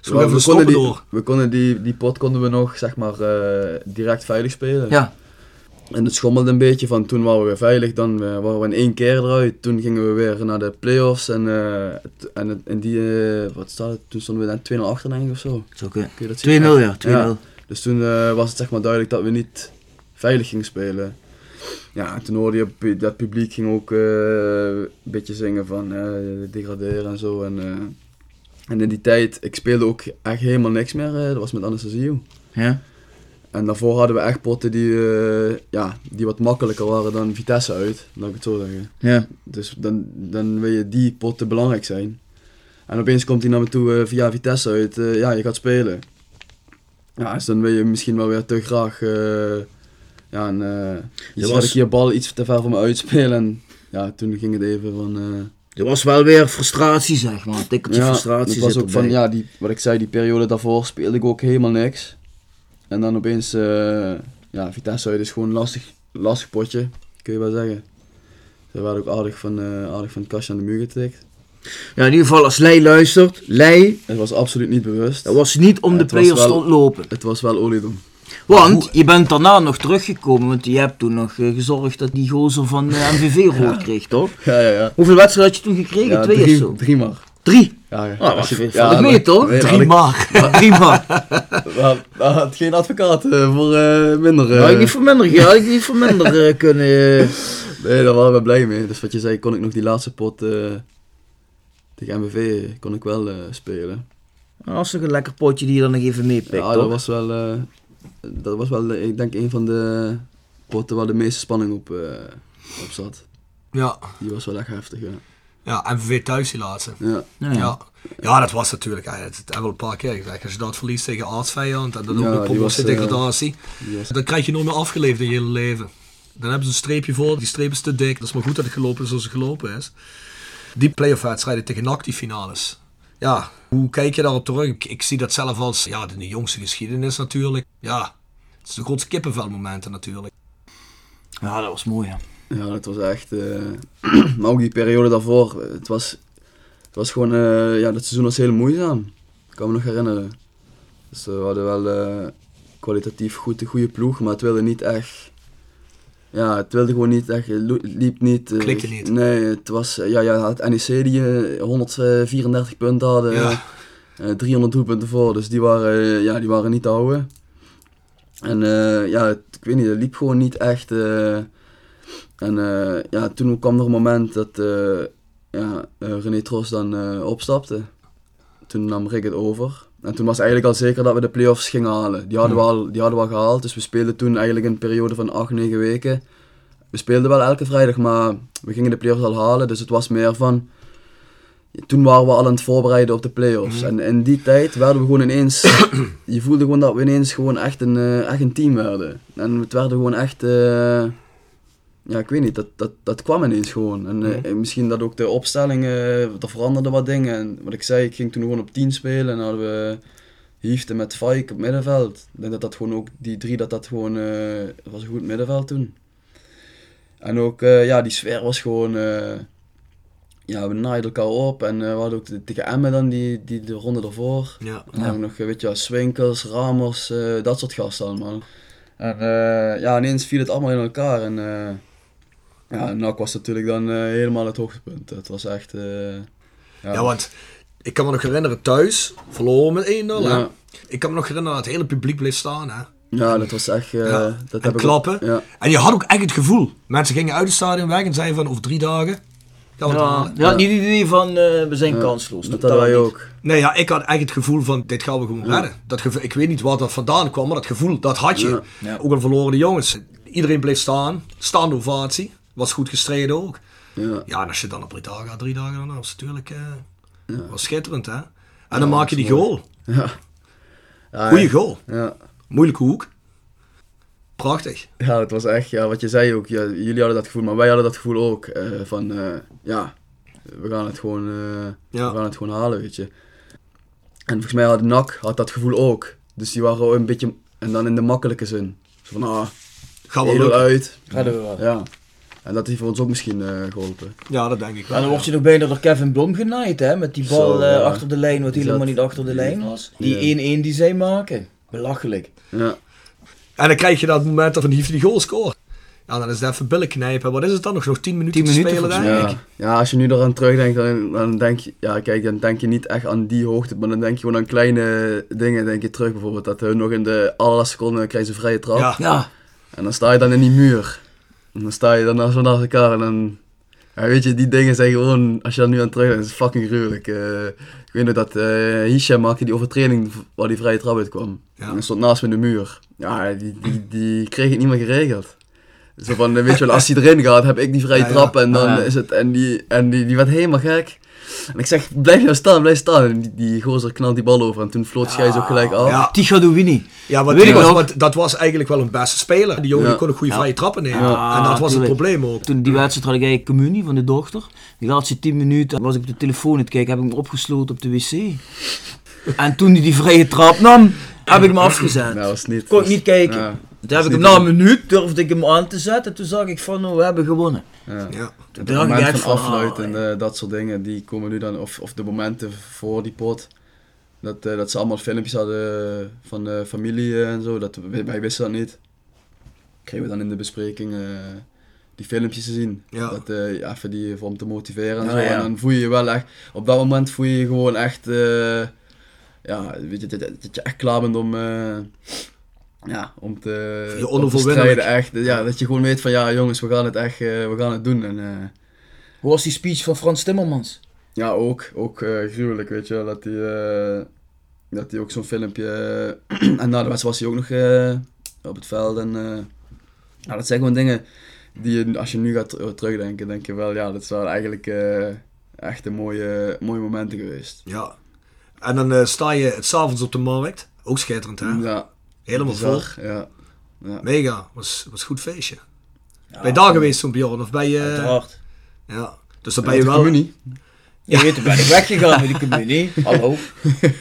Zo even de stoppen
konden die,
door.
we konden die, die pot konden we nog zeg maar eh, direct veilig spelen.
Ja,
En het schommelde een beetje van toen waren we weer veilig, dan eh, waren we in één keer eruit. Toen gingen we weer naar de play-offs en, eh, t- en, het- en die, eh, wat staat het, toen stonden we dan 2-0 achter denk ik of zo.
is oké.
Kun je dat
2-0
zien?
ja, 2-0.
Dus toen eh, was het zeg maar duidelijk dat we niet veilig gingen spelen. Ja, en toen hoorde je pu- dat publiek ging ook eh, een beetje zingen van eh, degraderen en zo. En, eh, en in die tijd, ik speelde ook echt helemaal niks meer, eh, dat was met Anastasio.
Ja.
En daarvoor hadden we echt potten die, eh, ja, die wat makkelijker waren dan Vitesse uit, laat ik het zo zeggen.
Ja.
Dus dan, dan wil je die potten belangrijk zijn. En opeens komt hij naar me toe eh, via Vitesse uit, eh, ja, je gaat spelen. Ja, dus dan wil je misschien wel weer te graag, eh, ja, en, eh
Je
je
was-
ik je bal iets te ver voor me uitspelen. En ja, toen ging het even van... eh,
Er was wel weer frustratie, zeg maar. Een tikkeltje frustratie
het was
zit
ook van,
erbij.
ja, die, wat ik zei, die periode daarvoor speelde ik ook helemaal niks. En dan opeens, eh, ja, Vitesse uit is gewoon een lastig, lastig potje, kun je wel zeggen. Ze werden ook aardig van, eh, aardig van het kastje aan de muur getikt.
Ja, in ieder geval als Lei luistert. Lei,
Het was absoluut niet bewust.
dat was niet om
Ja,
de
het was
players te
wel-
ontlopen.
Het was wel oliedom.
Want je bent daarna nog teruggekomen, want je hebt toen nog eh, gezorgd dat die gozer van eh, MVV rood kreeg, toch?
Ja, ja, ja.
Hoeveel wedstrijden had je toen gekregen?
ja
Twee
drie,
of zo?
drie maar.
Drie.
Ja, ja.
dat
Als je-
valt het
ja,
mee,
dat-
toch?
nee, dat
Drie
had
maar.
Drie man.
ik- dat- dat had geen advocaat eh, voor eh, minder.
Had ik
eh.
niet voor minder, ge- had ik niet voor minder eh, kunnen. eh.
Nee, daar waren we blij mee. Dus wat je zei, kon ik nog die laatste pot eh, tegen MVV kon ik wel eh, spelen.
Dat was toch een lekker potje die je dan nog even meepikt, toch?
Ja, dat was wel, eh, dat was wel eh, ik denk, een van de potten waar de meeste spanning op, eh, op zat.
Ja.
Die was wel echt heftig, ja.
ja, MVV thuis die laatste.
ja.
Ja.
Ja. ja, dat was natuurlijk, eh, dat hebben we al een paar keer gezegd. Als je dat verliest tegen aardsvijand en dat ook
Ja,
nog
die was,
promotie
eh,
degradatie,
die was-
dan Dus krijg je nooit meer afgeleverd in je hele leven. Dan hebben ze een streepje voor, die streep is te dik. Dat is maar goed dat het gelopen is zoals het gelopen is. Die play-off wedstrijden tegen NAC, die finales. Ja, hoe kijk je daarop terug? Ik, ik zie dat zelf als, ja, in de jongste geschiedenis natuurlijk. Ja, het is de grootste kippenvelmomenten natuurlijk.
Ja, dat was mooi, ja.
ja, dat was echt... eh, maar ook die periode daarvoor, eh, het was, het was gewoon... eh, ja, dat seizoen was heel moeizaam. Ik kan me nog herinneren. Dus eh, we hadden wel eh, kwalitatief goed, een goede ploeg, maar het wilde niet echt... Ja, het wilde gewoon niet echt, het lo- liep niet. eh,
Klikte niet.
Nee, het was, eh, ja, ja, het NEC die eh, 134 punten hadden.
Ja.
Eh, 300 doelpunten voor, dus die waren, eh, ja, die waren niet te houden. En eh, ja, het- ik weet niet, het liep gewoon niet echt. eh. en eh, ja, toen kwam er een moment dat eh, ja, eh, René Tros dan eh, opstapte. Toen nam Rick het over. En toen was eigenlijk al zeker dat we de play-offs gingen halen. Die hadden, we al, die hadden we al gehaald, dus we speelden toen eigenlijk een periode van 8, 9 weken. We speelden wel elke vrijdag, maar we gingen de play-offs al halen, dus het was meer van... Toen waren we al aan het voorbereiden op de play-offs.
Mhm.
En in die tijd werden we gewoon ineens je voelde gewoon dat we ineens gewoon echt een, eh, echt een team werden. En het werden gewoon echt, eh, ja ik weet niet, dat, dat, dat kwam ineens gewoon. En eh, misschien dat ook de opstelling, eh, er veranderden wat dingen. En wat ik zei, ik ging toen gewoon op 10 spelen en dan hadden we Hiefte met Fike op middenveld. Ik denk dat dat gewoon ook, die drie, dat dat gewoon, eh, het was een goed middenveld toen. En ook, eh, ja, die sfeer was gewoon... eh, ja, we naaiden elkaar op. En eh, we hadden ook de- tegen Emmen dan die, die de ronde ervoor.
Ja.
En dan
Ja.
hebben we nog, eh, weet je wel, Swinkels, Ramers, eh, dat soort gasten allemaal. En eh, ja, ineens viel het allemaal in elkaar. En eh ja, NAC was natuurlijk dan eh, helemaal het hoogtepunt. Het was echt... eh,
Ja, want ik kan me nog herinneren thuis, verloren met 1-0. hè.
ja.
Ik kan me nog herinneren dat het hele publiek bleef staan. Hè.
Ja, dat was echt... eh,
Ja, en
dat heb ik ook-
klappen.
ja.
En je had ook echt het gevoel. Mensen gingen uit het stadion weg en zeiden van over drie dagen gaan we het
Ja,
halen.
ja, niet het idee van eh, we zijn
Ja,
kansloos.
Dat
totaal
hadden wij
niet.
ook.
Nee, ja, ik had echt het gevoel van dit gaan we gewoon redden. Dat gevo- ik weet niet waar dat vandaan kwam, maar dat gevoel, dat had je.
Ja.
Ja.
Ook al verloren de jongens. Iedereen bleef staan. Staande ovatie. Was goed gestreden ook.
Ja.
Ja, en als je dan op Brita gaat, drie dagen daarna, was het natuurlijk eh,
Ja.
wel schitterend, hè? En dan maak je die goal.
Ja. Ah, Ja,
Goeie goal.
Ja.
Moeilijke hoek. Prachtig.
ja, het was echt, ja, wat je zei ook, ja, jullie hadden dat gevoel, maar wij hadden dat gevoel ook. eh, van, eh, ja, we gaan, het gewoon, eh,
Ja.
we gaan het gewoon halen, weet je. En volgens mij had NAC had dat gevoel ook. Dus die waren ook een beetje, en dan in de makkelijke zin. Zo van, ah,
Gaan we
edel
lukken.
uit.
Redden we wel.
Ja. En dat heeft voor ons ook misschien eh, geholpen.
Ja, dat denk ik
Ja,
wel.
dan word je nog bijna door Kevin Blom genaaid, hè? Met die bal
Zo,
eh,
ja.
achter de lijn, wat
Die
helemaal
zat-
niet achter de
die-
lijn was.
die-
Die 1-1 die zij maken. Belachelijk.
Ja,
En dan krijg je dat moment dat Van Hief die goal scoort. Ja, dan is het even billen knijpen. Wat is het dan? Nog, nog 10 minuten
10
te
minuten
spelen,
volgens
denk
ja.
ik.
ja, als je nu eraan terugdenkt, dan, dan, denk je, ja, kijk, dan denk je niet echt aan die hoogte, maar dan denk je gewoon aan kleine dingen. Denk je terug bijvoorbeeld dat hun nog in de allerlaatste seconde krijgen ze een vrije trap.
Ja.
Ja,
En dan sta je dan in die muur. En dan sta je dan naast naast elkaar en dan... Ja, weet je, die dingen zijn gewoon, als je daar nu aan terugdenkt, is het fucking gruwelijk. Eh, ik weet nog dat eh Hisham maakte die overtreding waar die vrije trap uit kwam.
Ja.
En hij stond naast me in de muur. Ja, die, die, die kreeg het niet meer geregeld. Zo van, eh, weet je wel, als hij erin gaat, heb ik die vrije
Ja, ja.
trap en dan
Ah, ja.
is het... En, die, en die, die werd helemaal gek. En ik zeg, blijf nou staan, blijf staan. En die, die gozer knalt die bal over en toen floot hij ook gelijk Oh. af.
Ja.
die gaat doen we niet.
Ja, want,
Weet
die
ik
was,
nog.
want dat was eigenlijk wel een beste speler. Die jongen
Ja.
die kon ook goede vrije trappen nemen.
Ja,
en dat was het
tuurlijk.
probleem ook.
Toen die wedstrijd had ik eigenlijk communie van de dochter. Die laatste 10 minuten was ik op de telefoon aan het kijken, heb ik me opgesloten op de wc. En toen hij die vrije trap nam, heb ik me afgezet.
Nou, was niet...
Kon ik niet kijken.
Ja,
Toen heb ik
is
hem
niet
na een minuut durfde ik hem aan te zetten. Toen zag ik van, oh, we hebben gewonnen.
ja.
Ja.
Toen
De
dacht ik
momenten
echt
van
van,
afluit
ah,
en eh, dat soort dingen, die komen nu dan, of, of de momenten voor die pot. Dat, eh, dat ze allemaal filmpjes hadden van de familie eh, en zo, dat, wij, wij wisten dat niet. Kregen we dan in de bespreking eh, die filmpjes te zien.
Ja.
Dat, eh, ja, even die, voor om te motiveren en
Ja,
zo.
ja.
En dan voel je je wel echt, op dat moment voel je je gewoon echt, eh, ja, weet je, dat, dat- dat je echt klaar bent om... eh, ja, om te,
Je
om te
onverwinnelijk.
strijden echt. Ja, dat je gewoon weet van ja jongens, we gaan het echt, eh, we gaan het doen. En, eh,
Hoe was die speech van Frans Timmermans?
ja, ook. Ook eh, gruwelijk, weet je wel. Dat hij eh, dat hij ook zo'n filmpje... eh, en na de wedstrijd was hij ook nog eh, op het veld. En, eh, nou, dat zijn gewoon dingen die je, als je nu gaat ter- terugdenken, denk je wel... Ja, dat zijn eigenlijk eh, echt een mooie, mooie momenten geweest.
ja. En dan eh, sta je het s'avonds op de markt. Ook schitterend, hè?
Ja,
Helemaal vol.
bizar, Ja. Ja.
Mega. Was, was een goed feestje. ben je daar geweest, zo'n Bjorn? Of ben
Eh.
je...
Uiteraard.
Ja. Dus dan
Bij
ben je
je
wel...
communie.
Je weet, toen ben ik weggegaan met die communie. Hallo.
Die
Toen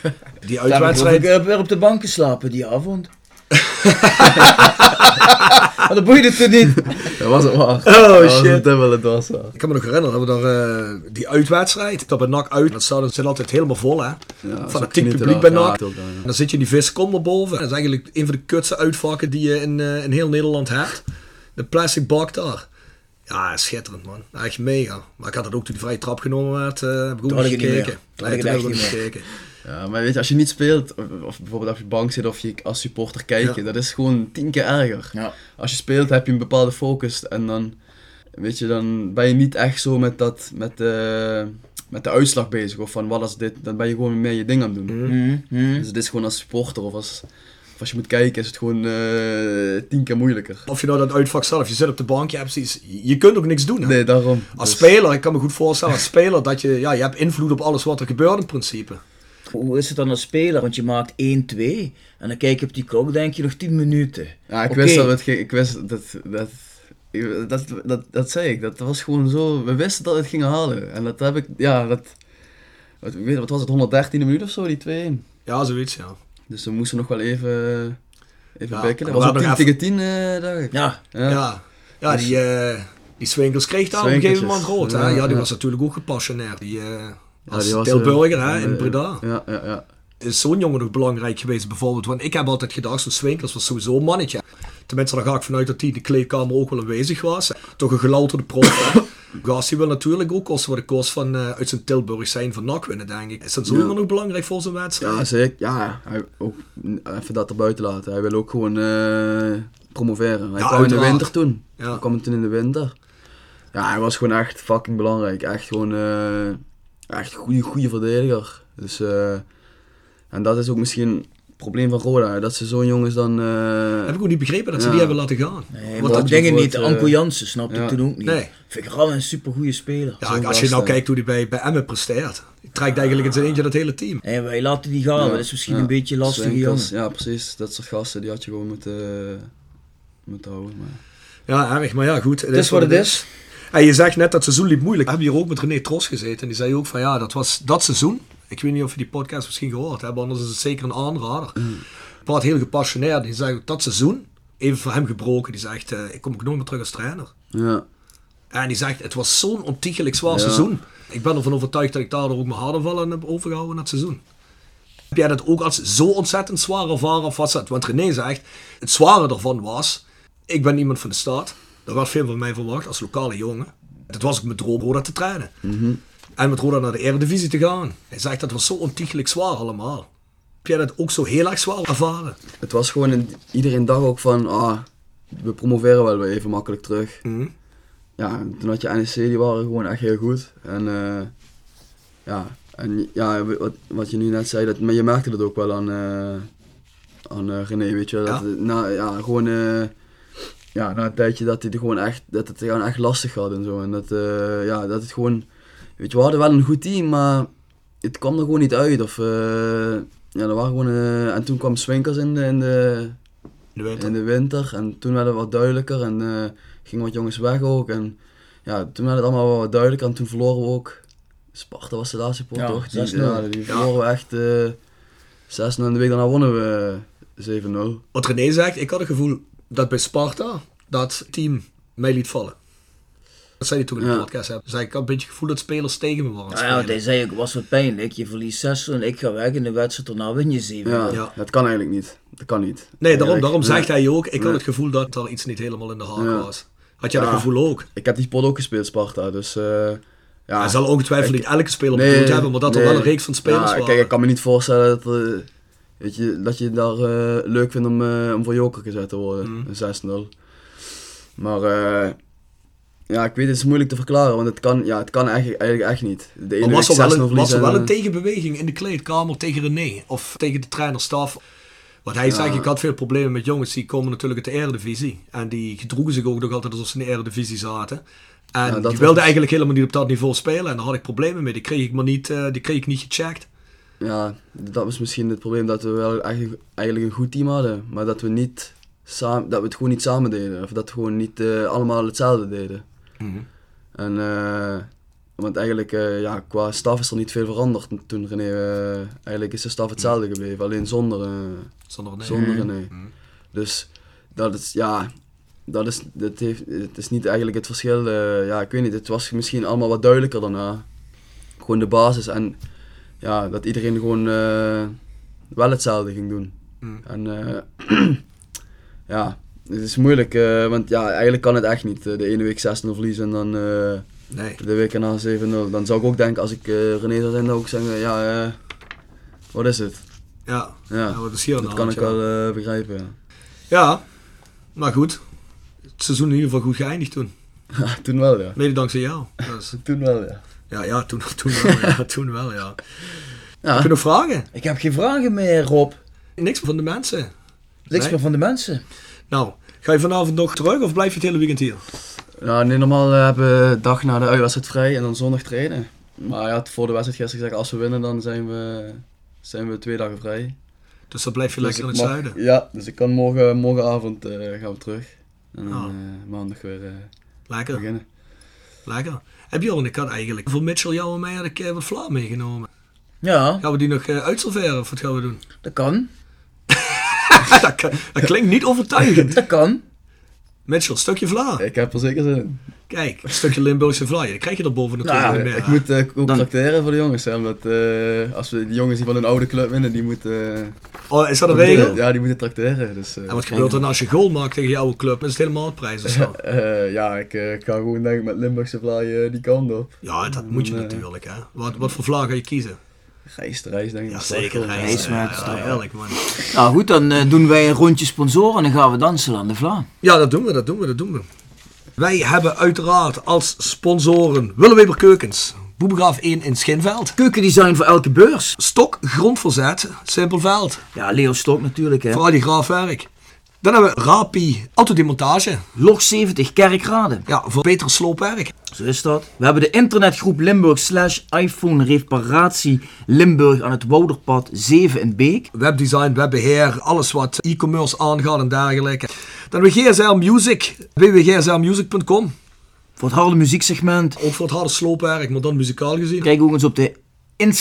heb ik
uitwedstrijd...
ook, eh, weer op de bank geslapen die avond. maar dat boeide toen niet.
Dat was het waar.
Oh,
Dat was
shit.
het dubbele, dat was waar.
Ik kan me nog herinneren dat we daar eh, die uitwedstrijd, dat bij NAC uit, dat stadion zit altijd helemaal vol hè.
Ja, dat is ook
Fanatiek
genieten
publiek bij
daar.
NAC.
Ja, ook daar, ja.
En dan zit je in die viskom erboven. Dat is eigenlijk een van de kutste uitvakken die je in, eh, in heel Nederland hebt. De plastic bak daar. Ja, schitterend man. Echt mega. Maar ik had dat ook toen die vrije trap genomen werd. eh heb ik ook
Toen had
nog
ik het niet
gekeken.
meer. Toen had ik het
Nee,
echt
toen
niet
heb ik ook gekeken.
Ja, maar weet je, als je niet speelt, of, of bijvoorbeeld op je bank zit of je als supporter kijkt,
Ja.
dat is gewoon tien keer erger.
Ja.
Als je speelt heb je een bepaalde focus en dan, weet je, dan ben je niet echt zo met, dat, met, de, met de uitslag bezig of van wat als dit, dan ben je gewoon meer je ding aan het doen.
Mm,
Dus het is gewoon als supporter of als, of als je moet kijken is het gewoon eh, tien keer moeilijker.
Of je nou dat uitvak zelf, je zit op de bank, je hebt precies, je kunt ook niks doen hè.
Nee, daarom.
Als
Dus-
speler, ik kan me goed voorstellen als speler dat je, ja, je hebt invloed op alles wat er gebeurt in principe.
Hoe is het dan als speler? Want je maakt 1-2 en dan kijk je op die klok, denk je nog 10 minuten.
Ja, ik
Oké.
wist dat we het ging, ik wist dat, dat, ik- dat, dat, dat zei ik, dat was gewoon zo, we wisten dat we het gingen halen. En dat heb ik, ja, dat, wat, ik weet, wat was het, 113e minuut of zo, die 2-1.
Ja, zoiets ja.
Dus we moesten nog wel even, even
Ja,
bikkelen.
we
Dat
hadden
was ook 10
nog
tegen 10, eh dacht ik.
Ja,
Ja.
Ja, ja die, eh, Die Swinkels kreeg daar op een gegeven moment
Swinkels,
rood.
ja,
hè? Ja, die
ja.
was natuurlijk ook gepassioneerd. Die, eh, als
die was,
Tilburger
eh,
hè, in
eh,
Breda.
Ja, ja, ja.
Is zo'n jongen nog belangrijk geweest bijvoorbeeld? Want ik heb altijd gedacht, zo'n Swinkels was sowieso een mannetje. Tenminste, daar ga ik vanuit dat hij in de kleedkamer ook wel aanwezig was. Toch een gelouterde prof. hè? Gast, die wil natuurlijk ook kosten wat de kost van eh, uit zijn Tilburg zijn van NAC winnen, denk ik. Is dat zo'n
Ja.
jongen nog belangrijk voor zijn wedstrijd?
Ja, zeker. Ja, hij, ook, even dat erbuiten laten. Hij wil ook gewoon eh, promoveren. Hij
Ja,
kwam in de
uiteraard.
winter toen.
Ja.
Hij kwam toen in de winter. Ja, hij was gewoon echt fucking belangrijk. Echt gewoon eh echt goede, goede verdediger. Dus, eh, en dat is ook misschien het probleem van Roda. Dat ze zo'n jongens dan... eh,
Heb ik ook niet begrepen dat ze
Ja.
die hebben laten gaan.
Nee,
Want
maar
dat-
ook dingen
wordt,
niet.
eh,
Anko Jansen snapte
ja.
ik toen ook niet.
Nee.
Vind ik wel een supergoeie speler.
Ja,
Zo'n
als je nou
gast, hè.
kijkt hoe hij bij, bij Emmen presteert. Hij trekt eigenlijk in zijn eentje dat hele team.
Nee, wij laten die gaan.
ja,
maar Dat is misschien
ja.
een beetje lastig, jongen.
Swinkels, Ja, precies. Dat soort gasten, die had je gewoon moeten, eh, moeten houden. Maar...
Ja, erg, maar ja, goed. Het
is wat het is.
En je zegt net dat seizoen liep moeilijk. We hebben hier ook met René Tros gezeten. En die zei ook van ja, dat was dat seizoen. Ik weet niet of je die podcast misschien gehoord hebt, anders is het zeker een aanrader. Ik praat heel gepassioneerd. Die zei ook, dat seizoen, even voor hem gebroken. Die zegt, eh, ik kom ook nooit meer terug als trainer.
Ja.
En die zegt, het was zo'n ontiegelijk zwaar
Ja.
seizoen. Ik ben ervan overtuigd dat ik daardoor ook mijn harde vallen heb overgehouden in dat seizoen. Heb jij dat ook als zo ontzettend zwaar ervaren of was dat? Want René zegt, het zware daarvan was, ik ben iemand van de staat. Er werd veel van mij verwacht als lokale jongen. Dat was ook mijn droom Roda te trainen.
Mhm.
En met Roda naar de Eredivisie te gaan. Hij zegt, dat was zo ontiegelijk zwaar allemaal. Heb jij dat ook zo heel erg zwaar ervaren?
Het was gewoon een, iedereen dag ook van, ah, we promoveren wel weer even makkelijk terug.
Mhm.
Ja, en toen had je NEC, die waren gewoon echt heel goed. En eh, ja, en, ja wat, wat je nu net zei, dat, maar je merkte dat ook wel aan, eh, aan eh, René, weet je. wel, Dat,
Ja.
het- na, ja, gewoon, eh, ja, na een tijdje dat hij het gewoon echt, dat het gewoon echt lastig had en zo. En dat, eh, ja, dat het gewoon, weet je, we hadden wel een goed team, maar het kwam er gewoon niet uit. Of, eh, ja, er waren gewoon, eh, en toen kwam Swinkers in de, in de,
Nu weet
in de winter. En toen werd het wat duidelijker en eh, gingen wat jongens weg ook. En ja, toen werd het allemaal wel wat duidelijker en toen verloren we ook. Sparta was de laatste pot,
Ja,
toch? Die,
6-0.
ja, die verloren we echt eh 6-0 en de week daarna wonnen we eh, 7-0.
Wat René zegt, ik had het gevoel dat bij Sparta dat team mij liet vallen. Dat zei hij toen in de
Ja. Ah,
podcast. Hè. Dus ik had een beetje het gevoel dat spelers tegen me waren. aan het
Nou ja,
spelen.
dat zei ik, was wat pijnlijk. Je verliest 6 en ik ga weg en de wedstrijd daarna win je 7.
Ja,
Ja.
dat kan eigenlijk niet. Dat kan niet.
nee, daarom,
Eigenlijk.
daarom
Ja.
zegt hij ook, ik had
Ja.
het gevoel dat er iets niet helemaal in de haak
Ja.
was. Had jij dat
Ja.
gevoel ook?
Ik heb die pot ook gespeeld, Sparta, dus eh, ja.
Hij zal ongetwijfeld niet elke speler
Nee,
bedoeld hebben, maar dat er
nee.
wel een reeks van spelers
Ja,
waren.
Kijk, ik kan me niet voorstellen dat, eh, weet je, dat je daar eh, leuk vindt om, eh, om voor joker gezet te worden.
Mm.
Een 6-0. Maar eh, ja, ik weet, het is moeilijk te verklaren, want het kan, ja, het kan eigenlijk, eigenlijk echt niet. De ene
maar was er,
week
wel
6-0
een, was er
verliezen
wel
en,
een
eh,
tegenbeweging in de kleedkamer tegen René of tegen de trainerstaf? Want hij zegt, ik had veel problemen met jongens die komen natuurlijk uit de Eredivisie. En die gedroegen zich ook nog altijd alsof ze in de Eredivisie zaten. En
dat
die
was-
wilden eigenlijk helemaal niet op dat niveau spelen. En daar had ik problemen mee. Die kreeg ik maar niet, eh, die kreeg ik niet gecheckt.
Ja, dat was misschien het probleem dat we wel echt- eigenlijk een goed team hadden, maar dat we, niet samen, dat we het gewoon niet samen deden. Of dat we gewoon niet eh, allemaal hetzelfde deden. En, eh, want eigenlijk, eh, ja, qua staf is er niet veel veranderd toen René. eh, eigenlijk is de staf hetzelfde gebleven, alleen zonder, eh,
Zonder René. Mhm.
zonder René. Dus dat is, ja, dat is, dat heeft, het is niet eigenlijk het verschil. eh, ja, ik weet niet, het was misschien allemaal wat duidelijker daarna. Gewoon de basis en ja, dat iedereen gewoon eh, wel hetzelfde ging doen.
Mm.
En eh, ja, het is moeilijk, eh, want ja, eigenlijk kan het echt niet. eh, De ene week 6-0 verliezen en dan... eh,
Nee.
de week erna 7-0. Dan zou ik ook denken, als ik eh, René zou zijn, dan ook zeggen, ja, eh, wat is het?
Ja.
Ja,
Ja, wat is hier aan de
dat kan
hand,
ik
ja.
wel eh, begrijpen, ja.
Ja. Maar goed. Het seizoen in ieder geval goed geëindigd toen.
Ja, Ah, toen wel, ja.
Mede dankzij jou. Dus,
Toen wel, ja.
ja, ja, toen, toen wel. Ja, toen wel, ja.
Ja,
Heb je nog vragen?
Ik heb geen vragen meer, Rob.
Niks van de mensen.
Niks
Nee.
meer van de mensen.
Nou, ga je vanavond nog terug of blijf je het hele weekend hier?
ja nee, normaal eh, hebben we dag na de uitwedstrijd vrij en dan zondag trainen. Maar ja, voor de wedstrijd gisteren gezegd, als we winnen, dan zijn we, zijn we twee dagen vrij.
Dus dan blijf je
Dus
lekker in
ik
het
mag-
zuiden.
Ja, dus ik kan morgen, morgenavond eh, gaan we terug. En dan
Oh.
Ah.
eh, maandag weer eh,
Lekker,
beginnen.
lekker. Heb je al, ik had eigenlijk voor Mitchell, jou en mij had ik eh, wat vla meegenomen.
Ja,
Gaan we die nog eh, uitserveren of wat gaan we doen?
dat kan.
dat, kan- dat klinkt niet overtuigend.
Dat kan.
Mitchell, stukje vla.
Ik heb er zeker zin in.
Kijk, een stukje Limburgse vla. Dan krijg je er boven de
Ja,
nou,
ik moet eh ook tracteren voor de jongens. Hè, omdat eh, als we die jongens die van een oude club winnen, die moeten... eh,
Oh, is dat een
die
regel?
moeten- ja, die moeten tracteren. Dus, eh,
En wat gebeurt er nou als je goal maakt tegen jouw club? Is het helemaal prijs of zo?
eh, ja, ik eh, ga gewoon denk ik met Limburgse vlaai eh, die kant op.
Ja, dat moet je
Nee.
natuurlijk, hè. Wat, wat voor vla ga je kiezen?
Rijst, rijst denk ik.
Ja,
dat
zeker.
wel.
Rijs, ja,
Rijswijk,
ja,
ja.
heerlijk, man.
Nou goed, dan eh, doen wij een rondje sponsoren en dan gaan we dansen aan de vla.
Ja, dat doen we, dat doen we, dat doen we. Wij hebben uiteraard als sponsoren Willeweber Keukens, Boebegraaf 1 in Schinveld,
Keukendesign voor elke beurs.
Stok Grondverzet, Simpelveld,
Ja, Leo Stok natuurlijk hè.
voor al die graafwerk. Dan hebben we Rapi Autodemontage,
Log 70 Kerkrade.
ja, voor beter sloopwerk.
Zo is dat. We hebben de internetgroep Limburg slash iPhone Reparatie Limburg aan het Wouderpad 7 in Beek.
Webdesign, webbeheer, alles wat e-commerce aangaat en dergelijke. Dan hebben we GSL Music, www.gslmusic.com,
Voor het harde muzieksegment.
ook voor het harde sloopwerk, maar dan muzikaal gezien.
Kijk ook eens op de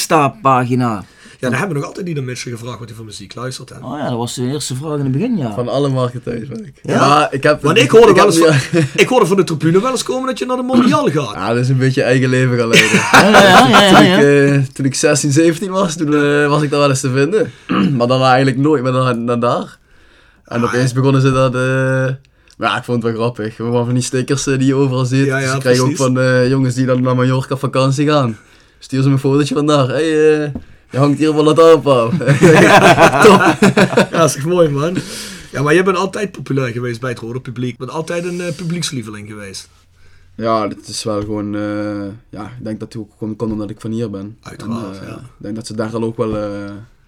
Insta-pagina.
Ja, dan hebben we nog altijd niet aan mensen gevraagd wat hij voor muziek luistert. Hè.
Oh ja, dat was de eerste vraag in het begin, ja.
Van alle marketeers, weet ik. Ja, ik heb...
Want ik hoorde, wel
heb-
eens
ja.
van, ik hoorde van de tribune wel eens komen dat je naar de mondial gaat.
Ja, dat is een beetje eigen leven gaan leiden.
Ja, ja, ja, ja, ja,
toen,
ja.
ik, eh, toen ik 16, 17 was, toen eh, was ik daar wel eens te vinden. maar daarna eigenlijk nooit meer naar, naar daar. En opeens begonnen ze dat... eh, maar ja, ik vond het wel grappig. We waren van die stickers eh, die je overal ziet.
Ja, ja,
dus ik krijg ook
precies.
van eh, jongens die dan naar Mallorca op vakantie gaan. Stuur ze me een fotootje van daar. Hey, eh, je hangt hier wel wat aan, pap.
Ja, dat is echt mooi, man. Ja, maar jij bent altijd populair geweest bij het rode publiek. Je bent altijd een eh, publiekslieveling geweest.
Ja, dat is wel gewoon. eh, ja, ik denk dat het ook gewoon komt omdat ik van hier ben.
Uiteraard,
En, eh,
ja.
Ik denk dat ze daar al ook wel, eh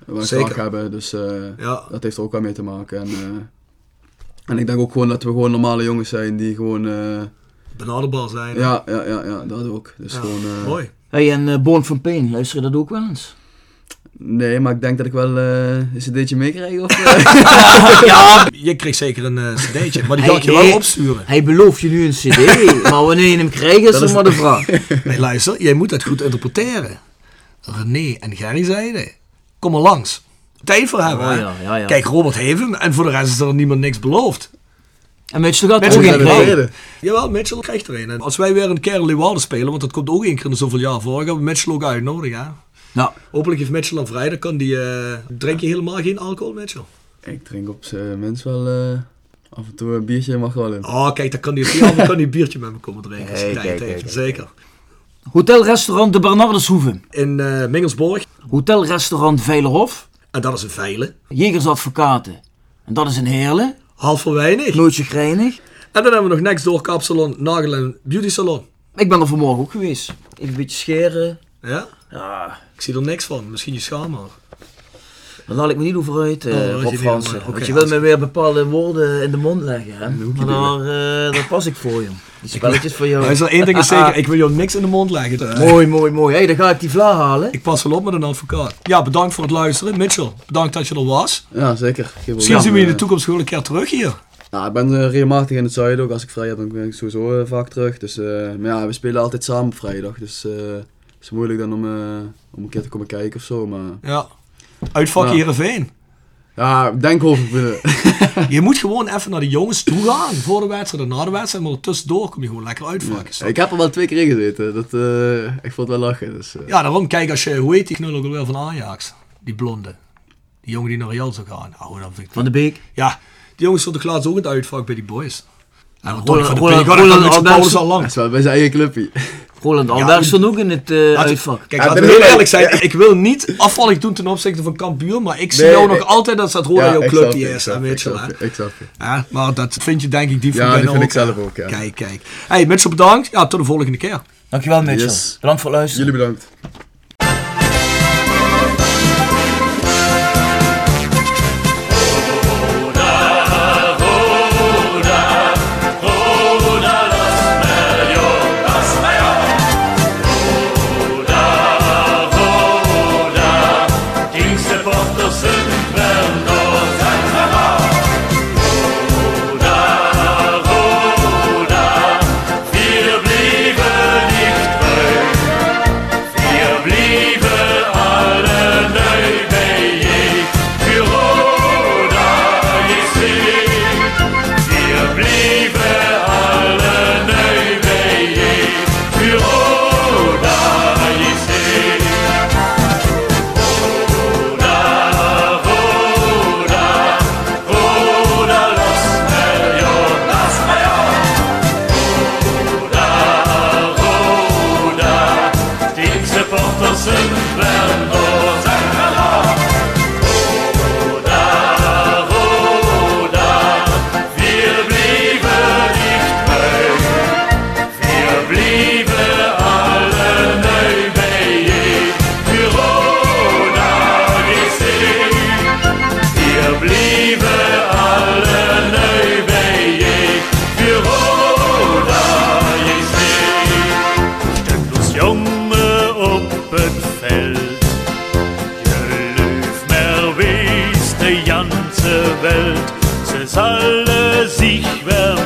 wel
Zeker.
graag hebben. Dus eh,
Ja.
dat heeft er ook wel mee te maken. En, eh, en ik denk ook gewoon dat we gewoon normale jongens zijn die gewoon. eh,
Benaderbaar zijn.
ja, ja, ja, ja, dat ook. Dus
Ja,
gewoon. eh,
Mooi.
Hey, en eh, Born from Pain, luister je dat ook wel eens?
Nee, maar ik denk dat ik wel eh een cd'tje meekrijg. Of, eh,
Je kreeg zeker een eh, cd'tje, maar die ga ik je
Hey,
wel
hey.
opsturen.
Hij belooft je nu een cd, maar wanneer je hem krijgt is
Dat
nog
is-
maar de vraag.
Nee, luister, jij moet dat goed interpreteren. René en Gerry zeiden, kom maar langs. Tijd voor hebben,
Oh
hè?
ja, ja, ja.
Kijk, Robert Heven, en voor de rest is er niemand niks beloofd.
En met je gaat
Mensen
ook
gaan
geen
het
krijgen.
reden.
Jawel, Mitchell krijgt er een. En als wij weer een keer in Leeuwarden spelen, want dat komt ook één keer in de zoveel jaar voor, gaan we Mitchell ook uitnodigen. Hè?
Nou,
Hopelijk heeft Mitchell dan vrijdag, kan die, eh, drink je helemaal geen alcohol, Mitchell?
ik drink op zijn minst wel. eh, af en toe een biertje mag wel in.
Oh, kijk, dan kan die, ja, dan kan die een biertje met me komen drinken. als hij
Kijk,
tijd
kijk,
heeft.
kijk,
Zeker.
hotelrestaurant De Bernardeshoeve,
In eh, Mingelsborg,
hotelrestaurant Veilerhof,
en dat is een veile,
Jegersadvocaten. En dat is een heerle,
half voor weinig.
Nootje Grijnig.
En dan hebben we nog next door Kapsalon, Nagel en Beauty Salon.
Ik ben er vanmorgen ook geweest. Even een beetje scheren.
Ja?
Ja,
Ik zie er niks van, misschien je schaamhaar.
daar laat ik me niet over uit, eh,
Oh, dat is
Rob
niet
Fransen.
helemaal-
Want
oké,
je wil
alles
me weer bepaalde woorden in de mond leggen, hè. Maar daar, eh, daar pas ik voor, joh. Die spelletjes voor jou. Ah,
Luister, één ding is zeker, ik wil jou niks in de mond leggen. Eh,
Mooi, mooi, mooi. hey, dan ga ik die vla halen.
Ik pas wel op met een advocaat. Ja, bedankt voor het luisteren. Mitchell, bedankt dat je er was.
Ja, zeker. Geen probleem.
Misschien zien we je in de
Eh,
toekomst gewoon een keer terug hier.
Nou, ik ben eh, regelmatig in het zuiden ook. Als ik vrij heb, dan ben ik sowieso eh, vaak terug. Dus, eh, maar ja, we spelen altijd samen op vrijdag. Dus eh, het is moeilijk dan om, eh, om een keer te komen kijken of zo. Maar
Ja. Uitvak
Ja.
Heerenveen.
ja, ik denk over binnen.
Je moet gewoon even naar de jongens toe gaan. Voor de wedstrijd en na de wedstrijd. Maar tussendoor kom je gewoon lekker uitvakken. Ja,
ik heb er wel twee keer in gezeten. Dat, eh, ik vond het wel lachen. Dus, eh.
daarom kijk als je... Hoe heet die knul ook alweer van Ajax? Die blonde. Die jongen die naar Real zou gaan. Nou, dan vind ik...
Van de Beek.
Ja, die jongens stond de laatst ook in het uitvak bij die boys. En dan
Roland-
Tony van de
Roland-
Beek. hoor,
Roland
dat is Paulus
Albertsen.
al
Dat
lang.
is wel bij zijn eigen clubje.
Roland Albertsen ook in het eh,
Laten-
uitvak.
Kijk,
Ja,
laten we
dat
heel
is-
eerlijk zijn. Ik wil niet afvallig doen ten opzichte van Kampuur. Maar ik zie
Nee,
jou
nee.
nog altijd dat dat Roda jouw club die is. hè, Mitchell, hè?
Ik snap je.
Ja, maar dat vind je denk ik die van
Ja,
binnen
die vind
ook,
ik zelf
hè.
ook, ja.
Kijk, kijk. hey, Mitchell bedankt. Ja, tot de volgende keer.
Dankjewel, Mitchell.
Yes.
Bedankt voor het luisteren.
Jullie bedankt.
Supporters zijn wel nooit zijn verhaal. Roda, Roda, wir blieben niet terug. Wir Welt, sie sollen sich wer